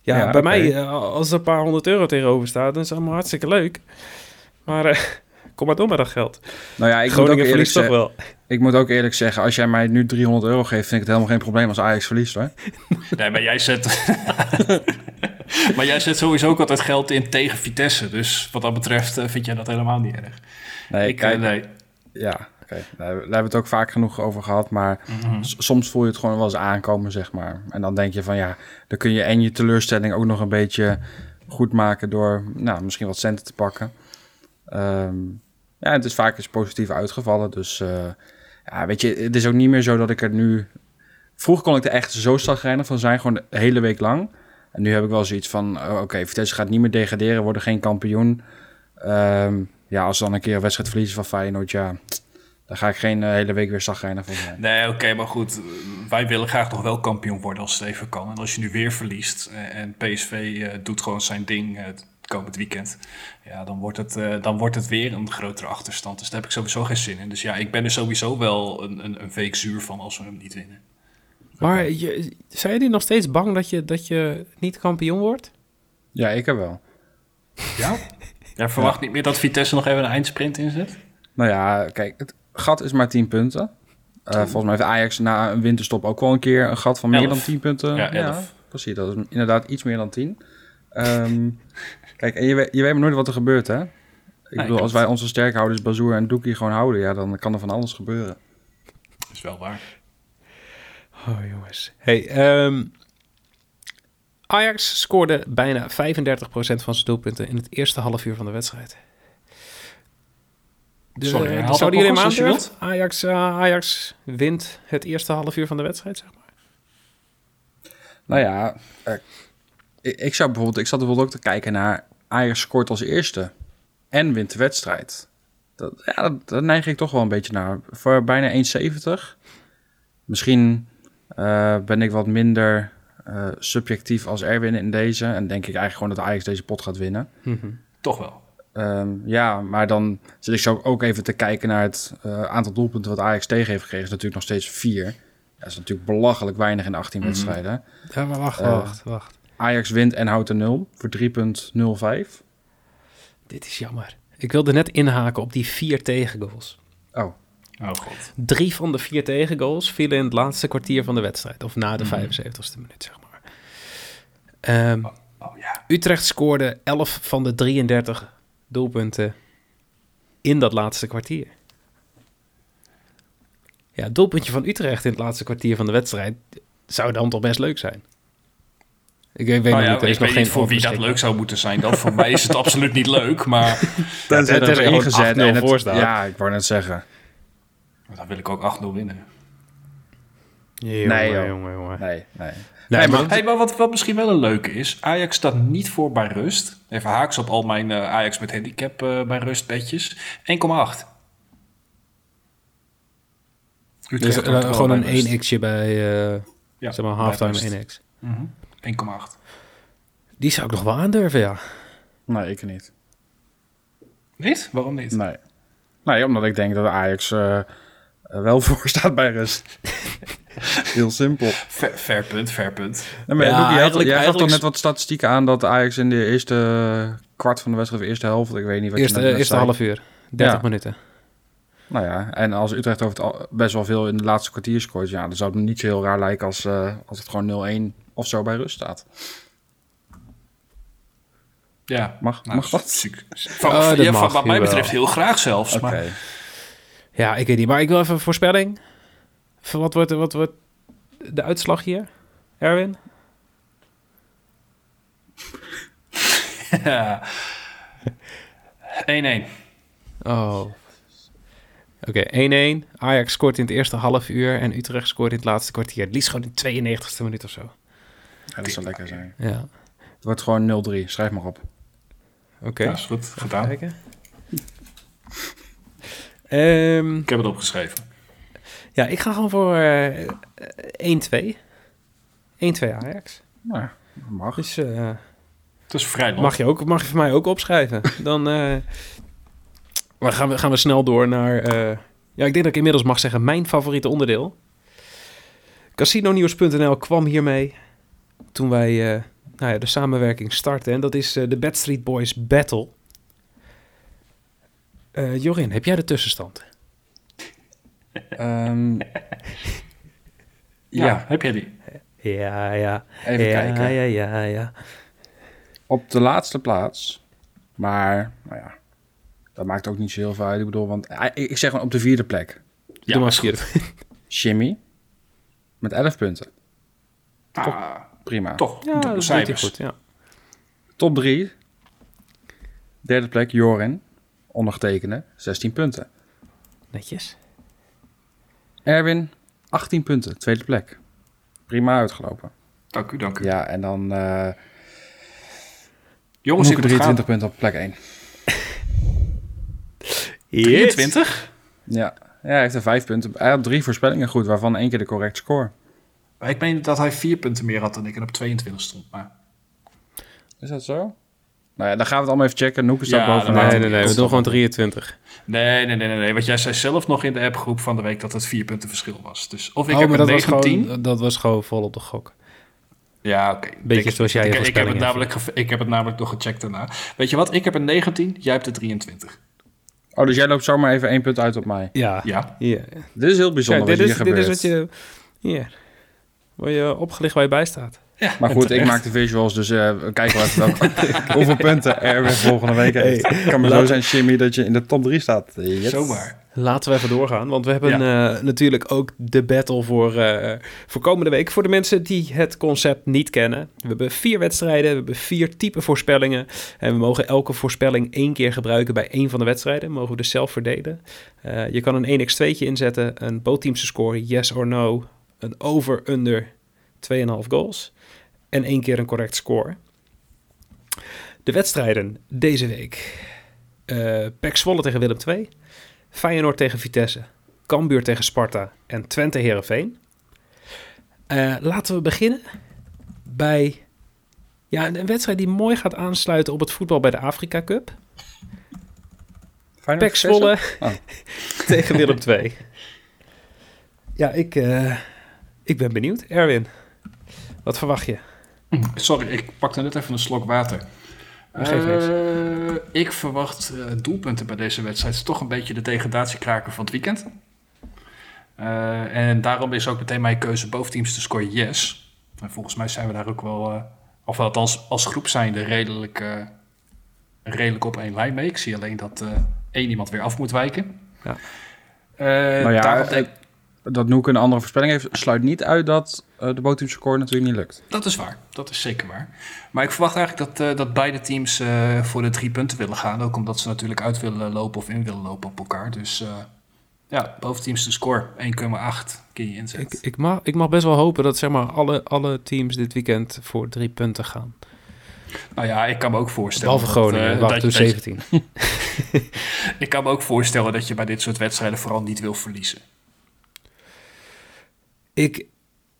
[SPEAKER 1] Ja,
[SPEAKER 3] Ja,
[SPEAKER 1] bij
[SPEAKER 3] oké.
[SPEAKER 1] mij, eh, als er een paar honderd euro tegenover staat... dan is het allemaal hartstikke leuk. Maar eh, <laughs> kom maar door met dat geld.
[SPEAKER 3] nou ja, ik moet ook
[SPEAKER 1] Groningen
[SPEAKER 3] eerlijk
[SPEAKER 1] verliest toch
[SPEAKER 3] zeggen.
[SPEAKER 1] wel.
[SPEAKER 3] Ik moet ook eerlijk zeggen, als jij mij nu 300 euro geeft, vind ik het helemaal geen probleem als Ajax verliest hoor.
[SPEAKER 2] Nee, maar jij zet... <laughs> maar jij zet sowieso ook altijd geld in tegen Vitesse. Dus wat dat betreft eh, vind jij dat helemaal niet erg.
[SPEAKER 3] Nee,
[SPEAKER 2] ik, eh,
[SPEAKER 3] kijk,
[SPEAKER 2] nee.
[SPEAKER 3] Ja, oké. Daar, daar hebben we het ook vaak genoeg over gehad. Maar
[SPEAKER 2] Mhm.
[SPEAKER 3] s- soms voel je het gewoon wel eens aankomen, zeg maar. En dan denk je van ja, dan kun je en je teleurstelling ook nog een beetje goed maken door nou, misschien wat centen te pakken. Ehm, ja, het is vaak eens positief uitgevallen. Dus eh, ja, weet je, het is ook niet meer zo dat ik er nu. Vroeger kon ik er echt zo stagrijnig van zijn, gewoon de hele week lang. En nu heb ik wel zoiets van: oh, oké, Vitesse gaat niet meer degraderen, worden geen kampioen. Ehm, ja, als ze dan een keer een wedstrijd verliezen van Feyenoord, ja, daar ga ik geen eh, hele week weer zagrijnig van zijn.
[SPEAKER 2] Nee, oké, maar goed. eh, Wij willen graag nog wel kampioen worden als het even kan. En als je nu weer verliest eh, en PSV eh, doet gewoon zijn ding eh, het komend weekend. Ja, dan wordt, het, eh, dan wordt het weer een grotere achterstand. Dus daar heb ik sowieso geen zin in. Dus ja, ik ben er sowieso wel een, een, een week zuur van als we hem niet winnen.
[SPEAKER 1] Maar je, zijn jullie nog steeds bang dat je, dat je niet kampioen wordt?
[SPEAKER 3] Ja, ik heb wel.
[SPEAKER 2] Ja? Ja, verwacht niet meer dat Vitesse nog even een eindsprint inzet?
[SPEAKER 3] Nou ja, kijk, het gat is maar 10 punten. Eh, volgens mij heeft Ajax na een winterstop ook wel een keer een gat van meer
[SPEAKER 2] Elf.
[SPEAKER 3] dan 10 punten.
[SPEAKER 2] Ja, elf.
[SPEAKER 3] precies. Dat is inderdaad iets meer dan 10. Ehm, <laughs> kijk, en je, weet- je weet maar nooit wat er gebeurt, hè? Ik bedoel,
[SPEAKER 2] klopt.
[SPEAKER 3] als wij onze sterkhouders Bazoer en Doekie gewoon houden, ja, dan kan er van alles gebeuren.
[SPEAKER 2] Dat is wel waar.
[SPEAKER 1] Oh jongens. Hey, ehm, Ajax scoorde bijna 35% van zijn doelpunten in het eerste half uur van de wedstrijd. De,
[SPEAKER 2] Sorry,
[SPEAKER 1] eh,
[SPEAKER 2] herhaal dat
[SPEAKER 1] zouden jullie
[SPEAKER 2] nog
[SPEAKER 1] hem
[SPEAKER 2] eens als je
[SPEAKER 1] aandurven? Ajax, eh, Ajax wint het eerste half uur van de wedstrijd, zeg maar.
[SPEAKER 3] Nou ja, eh, ik, ik zou bijvoorbeeld, ik zat bijvoorbeeld ook te kijken naar Ajax scoort als eerste en wint de wedstrijd. Dat, ja, dat, daar neig ik toch wel een beetje naar. Voor bijna 1,70. Misschien eh, ben ik wat minder eh, subjectief als Erwin in deze. En denk ik eigenlijk gewoon dat Ajax deze pot gaat winnen.
[SPEAKER 2] Toch wel.
[SPEAKER 3] Ehm, ja, maar dan zit ik zo ook even te kijken naar het eh, aantal doelpunten wat Ajax tegen heeft gekregen. is natuurlijk nog steeds vier. Dat is natuurlijk belachelijk weinig in 18 wedstrijden.
[SPEAKER 1] Ja, maar wacht,
[SPEAKER 3] Eh.
[SPEAKER 1] wacht, wacht.
[SPEAKER 3] Ajax wint en houdt een 0 voor 3,05.
[SPEAKER 1] Dit is jammer. Ik wilde net inhaken op die vier tegengoals.
[SPEAKER 3] Oh,
[SPEAKER 2] Oh god.
[SPEAKER 1] Drie van de vier tegengoals vielen in het laatste kwartier van de wedstrijd. Of na de
[SPEAKER 2] Mhm.
[SPEAKER 1] 75ste minuut, zeg maar. Ehm,
[SPEAKER 2] Oh ja.
[SPEAKER 1] Utrecht scoorde 11 van de 33 doelpunten in dat laatste kwartier. Ja, het doelpuntje van Utrecht in het laatste kwartier van de wedstrijd zou dan toch best leuk zijn. Ik weet, weet
[SPEAKER 2] Nou
[SPEAKER 1] nog
[SPEAKER 2] ja,
[SPEAKER 1] niet, er is
[SPEAKER 2] ik
[SPEAKER 1] nog
[SPEAKER 2] weet
[SPEAKER 1] geen
[SPEAKER 2] niet voor wie dat
[SPEAKER 1] onbeschikbaar.
[SPEAKER 2] leuk zou moeten zijn. Dan voor mij is het absoluut niet leuk, <laughs> maar
[SPEAKER 3] dan
[SPEAKER 1] tenzij er gewoon 8-0 voor staat.
[SPEAKER 3] Ja, ik wou net zeggen.
[SPEAKER 2] dan wil ik ook 8-0 winnen.
[SPEAKER 3] Nee, joh.
[SPEAKER 1] jongen, jongen.
[SPEAKER 3] Nee, nee.
[SPEAKER 1] Nee,
[SPEAKER 3] Nee,
[SPEAKER 1] maar-
[SPEAKER 3] maar-
[SPEAKER 2] Hey, maar wat, wat misschien wel een leuke is, Ajax staat niet voor bij rust. Even haaks op al mijn eh, Ajax met handicap eh, bij rust bedjes. 1,8.
[SPEAKER 1] Dus,
[SPEAKER 2] Utrecht
[SPEAKER 1] eh,
[SPEAKER 2] wordt wel
[SPEAKER 1] gewoon
[SPEAKER 2] bij rust.
[SPEAKER 1] een 1x'je bij, eh,
[SPEAKER 2] Ja,
[SPEAKER 1] zeg maar,
[SPEAKER 2] bij rust.
[SPEAKER 1] halftime 1x.
[SPEAKER 2] Mhm, 1,8.
[SPEAKER 1] Die zou ik nog wel aandurven, ja.
[SPEAKER 3] Nee, ik niet.
[SPEAKER 2] Niet? Waarom niet?
[SPEAKER 3] Nee. Nee, omdat ik denk dat Ajax eh, eh, wel <laughs> voor staat bij
[SPEAKER 1] <laughs>
[SPEAKER 3] rust. Heel simpel.
[SPEAKER 2] Ver, fair punt, fair punt.
[SPEAKER 3] Nee, maar
[SPEAKER 1] Ja,
[SPEAKER 3] Doekie, jij had-
[SPEAKER 1] eigenlijk-
[SPEAKER 3] jij gaf toch
[SPEAKER 1] eigenlijk-
[SPEAKER 3] net wat statistieken aan dat Ajax in de eerste kwart van de wedstrijd, of eerste helft, ik weet niet wat
[SPEAKER 1] Eerste,
[SPEAKER 3] je net
[SPEAKER 1] eerste
[SPEAKER 3] zei.
[SPEAKER 1] half uur, 30
[SPEAKER 3] Ja.
[SPEAKER 1] minuten.
[SPEAKER 3] Nou ja, en als Utrecht over het al- best wel veel in de laatste kwartier scoort, ja, dan zou het me niet zo heel raar lijken als, eh, als het gewoon 0-1 of zo bij rust staat.
[SPEAKER 2] Ja.
[SPEAKER 3] Mag,
[SPEAKER 1] Nou,
[SPEAKER 3] mag dat?
[SPEAKER 2] ziek. Van,
[SPEAKER 1] Ah, dat
[SPEAKER 2] ja, van-
[SPEAKER 1] mag,
[SPEAKER 2] wat mij
[SPEAKER 1] jawel.
[SPEAKER 2] betreft heel graag zelfs.
[SPEAKER 3] Oké.
[SPEAKER 2] Maar <laughs>
[SPEAKER 1] Ja, ik weet niet, maar ik wil even een voorspelling. Van Wat wordt, wat wordt de uitslag hier, Erwin?
[SPEAKER 2] ja. 1-1.
[SPEAKER 1] Oh. Oké, 1-1. Ajax scoort in het eerste half uur en Utrecht scoort in het laatste kwartier. Het liefst gewoon in de 92e minuut of zo.
[SPEAKER 3] Ja, dat zou lekker zijn.
[SPEAKER 1] Ja,
[SPEAKER 3] Het wordt gewoon 0-3, schrijf maar op.
[SPEAKER 1] oké.
[SPEAKER 2] Ja, is goed. Gedaan.
[SPEAKER 1] Kijken. Ehm,
[SPEAKER 2] Ik heb het opgeschreven.
[SPEAKER 1] ja, ik ga gewoon voor eh, eh, 1-2. 1-2 Ajax.
[SPEAKER 3] Nou, mag.
[SPEAKER 1] Dus eh,
[SPEAKER 2] Het is vrij lang.
[SPEAKER 1] mag, je ook, mag je voor mij ook opschrijven. Dan eh, maar gaan, we, gaan we snel door naar... eh, ja, ik denk dat ik inmiddels mag zeggen mijn favoriete onderdeel. Casinonews.nl kwam hiermee toen wij eh, nou ja, de samenwerking starten. En dat is eh, de Bad Street Boys Battle. Eh, Jorin, heb jij de tussenstand? <laughs>
[SPEAKER 3] Ehm,
[SPEAKER 2] Ja,
[SPEAKER 3] ja,
[SPEAKER 2] heb jij die?
[SPEAKER 1] Ja, ja.
[SPEAKER 3] even kijken.
[SPEAKER 1] ja, ja, ja.
[SPEAKER 3] Op de laatste plaats. Maar, nou ja, dat maakt ook niet zo heel veel uit. Ik bedoel, want eh, ik ik zeg gewoon op de vierde plek.
[SPEAKER 1] Doe maar
[SPEAKER 2] is
[SPEAKER 1] vier.
[SPEAKER 3] Jimmy. Met 11 punten.
[SPEAKER 2] goed.
[SPEAKER 1] Toch.
[SPEAKER 2] Ah,
[SPEAKER 3] Prima.
[SPEAKER 2] toch,
[SPEAKER 1] Ja, dat
[SPEAKER 2] dubbele
[SPEAKER 1] doet hij
[SPEAKER 2] cijfers.
[SPEAKER 1] goed. Ja.
[SPEAKER 3] Top 3. Derde plek, Jorin. Ondergetekende, 16 punten.
[SPEAKER 1] Netjes.
[SPEAKER 3] Erwin, 18 punten. Tweede plek. Prima uitgelopen.
[SPEAKER 2] Dank u, dank u.
[SPEAKER 3] Ja, en dan eh
[SPEAKER 2] Jongens, ik
[SPEAKER 3] Noeke,
[SPEAKER 2] moet gaan.
[SPEAKER 3] 23 punten op plek 1.
[SPEAKER 2] 23?
[SPEAKER 3] Ja. ja, hij heeft er 5 punten. Hij had drie voorspellingen goed, waarvan één keer de correct score.
[SPEAKER 2] Maar Ik meen dat hij vier punten meer had dan ik en op 22 stond. Maar
[SPEAKER 3] Is dat zo? Nou ja, dan gaan we het allemaal even checken. Noeke
[SPEAKER 2] Ja,
[SPEAKER 3] staat bovenaan.
[SPEAKER 2] dan
[SPEAKER 1] Nee,
[SPEAKER 2] laten
[SPEAKER 1] nee,
[SPEAKER 2] we
[SPEAKER 1] nee. We
[SPEAKER 2] die
[SPEAKER 1] doen gewoon 23.
[SPEAKER 2] nee, nee, nee, nee, nee. Want jij zei zelf nog in de appgroep van de week dat het vier punten verschil was. Dus of ik
[SPEAKER 1] Oh,
[SPEAKER 2] heb
[SPEAKER 1] maar
[SPEAKER 2] het
[SPEAKER 1] dat was,
[SPEAKER 2] 19.
[SPEAKER 1] gewoon, dat was gewoon vol op de gok.
[SPEAKER 2] Ja, oké.
[SPEAKER 1] Beetje
[SPEAKER 2] Ik-
[SPEAKER 1] zoals jij je
[SPEAKER 2] ik, ik, heb het
[SPEAKER 1] voorspellingen
[SPEAKER 2] namelijk geve- ik heb het namelijk nog gecheckt daarna. Weet je wat? Ik heb een 19, jij hebt een 23.
[SPEAKER 3] Oh, dus jij loopt zomaar even één punt uit op mij.
[SPEAKER 1] Ja.
[SPEAKER 2] Ja.
[SPEAKER 1] Ja.
[SPEAKER 3] Dit is heel bijzonder
[SPEAKER 1] Kijk, dit,
[SPEAKER 3] wat
[SPEAKER 1] is,
[SPEAKER 3] hier
[SPEAKER 1] dit is
[SPEAKER 3] gebeurt.
[SPEAKER 1] wat je... Hier. Word je opgelicht waar je bij staat.
[SPEAKER 2] ja
[SPEAKER 3] Maar
[SPEAKER 2] en
[SPEAKER 3] goed, ik
[SPEAKER 2] terecht.
[SPEAKER 3] maak de visuals, dus eh, we kijken
[SPEAKER 1] <laughs>
[SPEAKER 3] wat hoeveel punten er weer volgende week heeft. kan maar zo
[SPEAKER 1] laat-
[SPEAKER 3] zijn, Jimmy, dat je in de top 3 staat. Yes.
[SPEAKER 2] Zomaar.
[SPEAKER 1] Laten we even doorgaan, want we hebben eh, natuurlijk ook de battle voor, eh, voor komende week. Voor de mensen die het concept niet kennen. We hebben vier wedstrijden, we hebben vier typen voorspellingen. En we mogen elke voorspelling één keer gebruiken bij één van de wedstrijden. Mogen we dus zelf verdelen. Eh, je kan een 1x2'tje inzetten, een bootteamse score, yes or no. Een over-under 2,5 goals. En één keer een correct score. De wedstrijden deze week. Eh Pek Zwolle tegen Willem II. Feyenoord tegen Vitesse, Cambuur tegen Sparta en Twente Herenveen. laten we Eh, beginnen bij ja, een een wedstrijd die mooi gaat aansluiten op het voetbal bij de Afrika Cup.
[SPEAKER 3] Feyenoord
[SPEAKER 1] Pek Zwolle
[SPEAKER 3] Oh.
[SPEAKER 1] <laughs> tegen Willem II. <laughs> Ja, ik, eh, ik ben benieuwd. Erwin, wat verwacht je?
[SPEAKER 2] Sorry, ik pakte net even een slok water.
[SPEAKER 1] Dat geeft niks.
[SPEAKER 2] Eh, ik verwacht eh, doelpunten bij deze wedstrijd. Het is toch een beetje de degradatiekraker van het weekend. Eh, en daarom is ook meteen mijn keuze boventeams te scoren yes. En volgens mij zijn we daar ook wel, eh, of althans als groep zijnde, redelijk, eh, redelijk op één lijn mee. Ik zie alleen dat eh, één iemand weer af moet wijken.
[SPEAKER 1] Ja.
[SPEAKER 2] Eh,
[SPEAKER 3] Nou ja,
[SPEAKER 2] daarom
[SPEAKER 3] eh,
[SPEAKER 2] denk-
[SPEAKER 3] Dat Noek een andere voorspelling heeft, sluit niet uit dat eh, de bootteams score natuurlijk niet lukt.
[SPEAKER 2] Dat is waar, dat is zeker waar. Maar ik verwacht eigenlijk dat, eh, dat beide teams eh, voor de drie punten willen gaan. Ook omdat ze natuurlijk uit willen lopen of in willen lopen op elkaar. Dus eh ja, boventeams de score 1,8 kun je
[SPEAKER 1] Ik,
[SPEAKER 2] inzetten.
[SPEAKER 1] ik, mag, ik mag best wel hopen dat zeg maar, alle, alle teams dit weekend voor drie punten gaan.
[SPEAKER 2] nou ja, ik kan me ook voorstellen.
[SPEAKER 1] Behalve
[SPEAKER 2] dat,
[SPEAKER 1] Groningen,
[SPEAKER 2] eh,
[SPEAKER 1] wacht,
[SPEAKER 2] dat-
[SPEAKER 1] toen
[SPEAKER 2] dat je-
[SPEAKER 1] 17.
[SPEAKER 2] Ik kan me ook voorstellen dat je bij dit soort wedstrijden vooral niet wil verliezen.
[SPEAKER 1] Ik,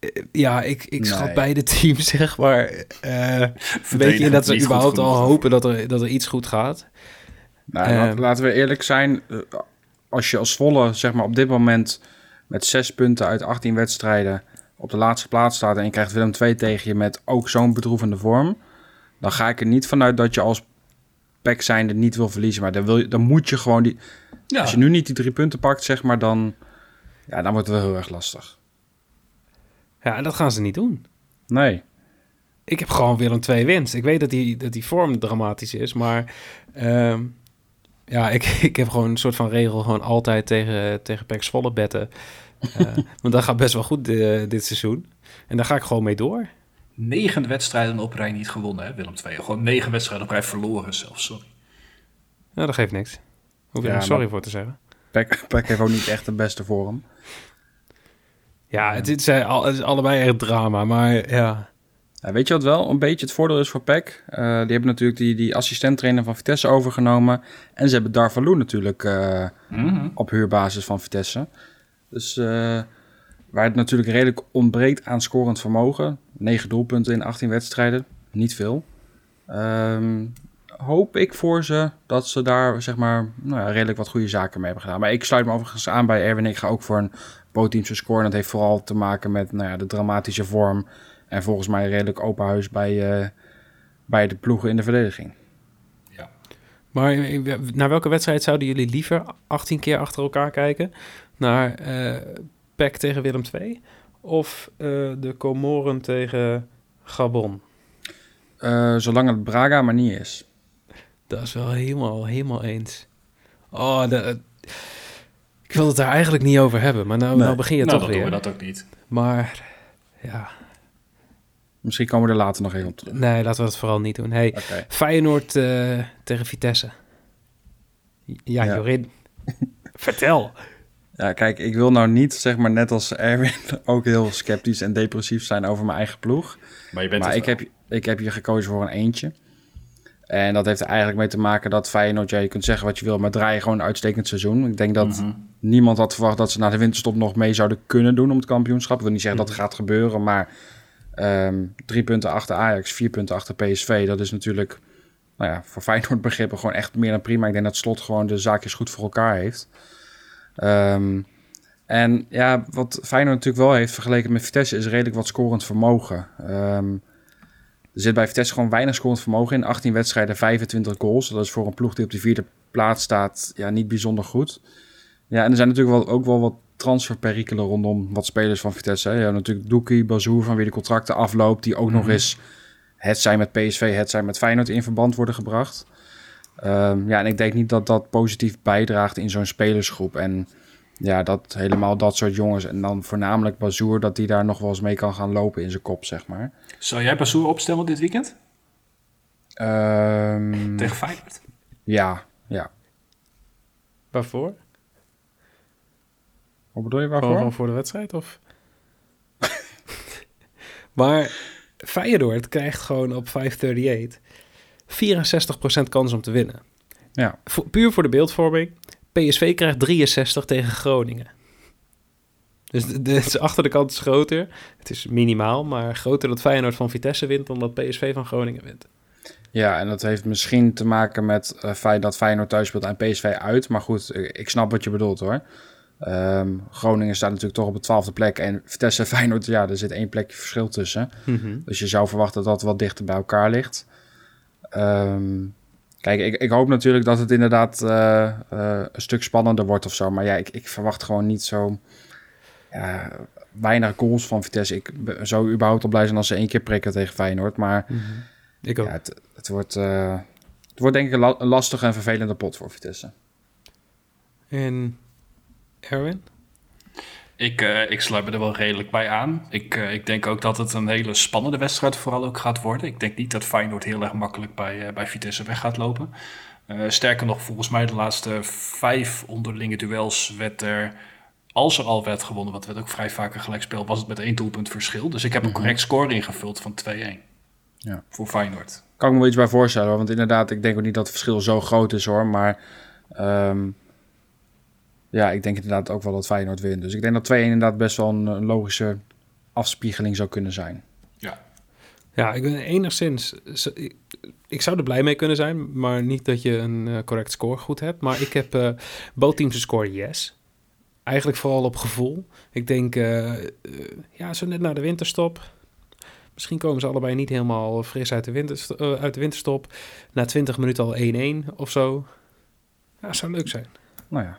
[SPEAKER 1] eh, ja, ik, ik schat
[SPEAKER 3] Nee.
[SPEAKER 1] beide teams, <laughs> zeg maar. eh weet je,
[SPEAKER 2] Verdedigend
[SPEAKER 1] dat we
[SPEAKER 2] niet goed
[SPEAKER 1] überhaupt al
[SPEAKER 2] genoeg.
[SPEAKER 1] hopen dat er, dat er iets goed gaat.
[SPEAKER 3] Nou,
[SPEAKER 1] Eh.
[SPEAKER 3] laat- laten we eerlijk zijn. eh, Als je als Zwolle zeg maar, op dit moment met zes punten uit 18 wedstrijden op de laatste plaats staat... en je krijgt Willem II tegen je met ook zo'n bedroevende vorm... dan ga ik er niet vanuit dat je als pack zijnde niet wil verliezen. Maar dan, wil je, dan moet je gewoon... Die,
[SPEAKER 2] Ja,
[SPEAKER 3] Als je nu niet die drie punten pakt, zeg maar, dan, ja, dan wordt het wel heel erg lastig.
[SPEAKER 1] Ja, en dat gaan ze niet doen.
[SPEAKER 3] Nee.
[SPEAKER 1] Ik heb gewoon weer een twee winst. Ik weet dat die, dat die vorm dramatisch is, maar... ehm, ja, ik, <laughs> ik heb gewoon een soort van regel... gewoon altijd tegen, tegen Pek Zwolle betten. Eh, want dat gaat best wel goed eh, dit seizoen. En daar ga ik gewoon mee door.
[SPEAKER 2] negen wedstrijden op rij niet gewonnen, hè, Willem II. Gewoon negen wedstrijden op rij verloren zelfs, sorry.
[SPEAKER 1] Nou, dat geeft niks. Hoef je
[SPEAKER 3] Ja,
[SPEAKER 1] er sorry
[SPEAKER 3] maar-
[SPEAKER 1] voor te zeggen.
[SPEAKER 3] <laughs> Pack, pack heeft ook niet echt de beste vorm.
[SPEAKER 1] Ja, het, het zijn al, het is allebei echt drama, maar ja...
[SPEAKER 3] Ja, weet je wat wel een beetje het voordeel is voor Peck? Eh, die hebben natuurlijk die, die assistent-trainer van Vitesse overgenomen. En ze hebben Darvalu natuurlijk eh,
[SPEAKER 1] Hm?
[SPEAKER 2] Mhm.
[SPEAKER 3] op huurbasis van Vitesse. Dus eh, waar het natuurlijk redelijk ontbreekt aan scorend vermogen. 9 doelpunten in 18 wedstrijden, niet veel. Ehm, hoop ik voor ze dat ze daar zeg maar, nou ja, redelijk wat goede zaken mee hebben gedaan. Maar ik sluit me overigens aan bij Erwin. Ik ga ook voor een bootteamse score. En dat heeft vooral te maken met nou ja, de dramatische vorm. En volgens mij redelijk open huis bij, eh, bij de ploegen in de verdediging.
[SPEAKER 1] Maar eh, naar welke wedstrijd zouden jullie liever 18 keer achter elkaar kijken? Naar eh PEC tegen Willem II? Of eh, de Comoren tegen Gabon?
[SPEAKER 3] Eh, zolang het Braga maar niet is.
[SPEAKER 1] Dat is wel helemaal, helemaal eens. Oh, de- ik wil het daar eigenlijk niet over hebben, maar nou,
[SPEAKER 3] Nee.
[SPEAKER 1] nou begin je
[SPEAKER 2] nou,
[SPEAKER 1] toch
[SPEAKER 2] dan
[SPEAKER 1] weer.
[SPEAKER 2] doen we dat ook niet.
[SPEAKER 1] Maar ja,
[SPEAKER 3] Misschien komen we er later nog even op terug.
[SPEAKER 1] nee, laten we dat vooral niet doen. Hey,
[SPEAKER 3] Oké.
[SPEAKER 1] Feyenoord eh, tegen Vitesse. Ja,
[SPEAKER 3] Ja. <laughs>
[SPEAKER 1] Jorin, vertel.
[SPEAKER 3] Ja, kijk, ik wil nou niet, zeg maar net als Erwin, <laughs> ook heel sceptisch en depressief zijn over mijn eigen ploeg.
[SPEAKER 2] Maar je bent
[SPEAKER 3] maar
[SPEAKER 2] het
[SPEAKER 3] ik
[SPEAKER 2] wel.
[SPEAKER 3] heb, ik heb hier gekozen voor een eentje. En dat heeft er eigenlijk mee te maken dat Feyenoord, ja, je kunt zeggen wat je wil, maar draaien gewoon een uitstekend seizoen. Ik denk dat
[SPEAKER 2] Mhm.
[SPEAKER 3] niemand had verwacht dat ze na de winterstop nog mee zouden kunnen doen om het kampioenschap. Ik wil niet zeggen dat het gaat gebeuren, maar ehm, drie punten achter Ajax, vier punten achter PSV, dat is natuurlijk, nou ja, voor Feyenoord begrippen gewoon echt meer dan prima. Ik denk dat Slot gewoon de zaakjes goed voor elkaar heeft. Ehm, en ja, wat Feyenoord natuurlijk wel heeft vergeleken met Vitesse is redelijk wat scorend vermogen. Ehm, er zit bij Vitesse gewoon weinig scorend vermogen in. 18 wedstrijden, 25 goals. Dat is voor een ploeg die op de vierde plaats staat ja, niet bijzonder goed. Ja, en er zijn natuurlijk wel, ook wel wat transferperikelen rondom wat spelers van Vitesse. Hè. Je hebt natuurlijk Doekie, Bazoer, van wie de contracten afloopt. Die ook nog eens het zijn met PSV, het zijn met Feyenoord in verband worden gebracht. Ehm, ja, en ik denk niet dat dat positief bijdraagt in zo'n spelersgroep. En ja, dat helemaal dat soort jongens. En dan voornamelijk Bazoer, dat die daar nog wel eens mee kan gaan lopen in zijn kop, zeg maar.
[SPEAKER 2] Zou jij Bassoer opstellen dit weekend?
[SPEAKER 3] Ehm,
[SPEAKER 2] Tegen Feyenoord?
[SPEAKER 3] ja, ja.
[SPEAKER 1] Waarvoor?
[SPEAKER 3] Wat bedoel je
[SPEAKER 1] Gewoon,
[SPEAKER 3] waarvoor?
[SPEAKER 1] gewoon voor de wedstrijd, of? <laughs> maar Feyenoord krijgt gewoon op 538 64% kans om te winnen.
[SPEAKER 3] Ja.
[SPEAKER 1] Voor- puur voor de beeldvorming. PSV krijgt 63 tegen Groningen. Dus de, de, dus achter de kant is groter. Het is minimaal, maar groter dat Feyenoord van Vitesse wint dan dat PSV van Groningen wint.
[SPEAKER 3] Ja, en dat heeft misschien te maken met het feit dat Feyenoord thuis speelt en PSV uit. Maar goed, ik, ik snap wat je bedoelt hoor. Ehm, Groningen staat natuurlijk toch op de twaalfde plek. En Vitesse <laughs> en Feyenoord, ja, er zit één plekje verschil tussen.
[SPEAKER 1] Mhm.
[SPEAKER 3] Dus je zou verwachten dat dat wat dichter bij elkaar ligt. Ehm, kijk, ik, ik hoop natuurlijk dat het inderdaad eh, eh, een stuk spannender wordt of zo. Maar ja, ik, ik verwacht gewoon niet zo ja, weinig goals van Vitesse. Ik be- zou überhaupt al blij zijn als ze één keer prikken tegen Feyenoord. Maar
[SPEAKER 1] Mhm. Ik ook.
[SPEAKER 3] ja, het, het, wordt, eh, het wordt denk ik een, la- een lastige en vervelende pot voor Vitesse.
[SPEAKER 1] En Erwin?
[SPEAKER 2] Ik, eh ik sluit me er wel redelijk bij aan. Ik, eh, ik denk ook dat het een hele spannende wedstrijd vooral ook gaat worden. Ik denk niet dat Feyenoord heel erg makkelijk bij, eh, bij Vitesse weg gaat lopen. Eh, sterker nog, volgens mij de laatste vijf onderlinge duels werd er, als er al werd gewonnen, wat werd ook vrij vaak een gelijkspel, was het met één doelpunt verschil. Dus ik heb een correct score ingevuld van 2-1
[SPEAKER 3] Ja.
[SPEAKER 2] voor Feyenoord.
[SPEAKER 3] Kan ik me wel iets bij voorstellen, hoor, want inderdaad, ik denk ook niet dat het verschil zo groot is hoor. Maar ehm, ja, ik denk inderdaad ook wel dat Feyenoord wint. Dus ik denk dat 2-1 inderdaad best wel een, een logische afspiegeling zou kunnen zijn.
[SPEAKER 1] Ja, ik ben enigszins. z- ik- Ik zou er blij mee kunnen zijn, maar niet dat je een eh, correct score goed hebt. Maar ik heb eh both teams een score yes. Eigenlijk vooral op gevoel. Ik denk, eh, eh, ja, zo net na de winterstop. Misschien komen ze allebei niet helemaal fris uit de, winterst- eh, uit de winterstop. Na 20 minuten al 1-1 of zo. Ja, zou leuk zijn.
[SPEAKER 3] Nou ja,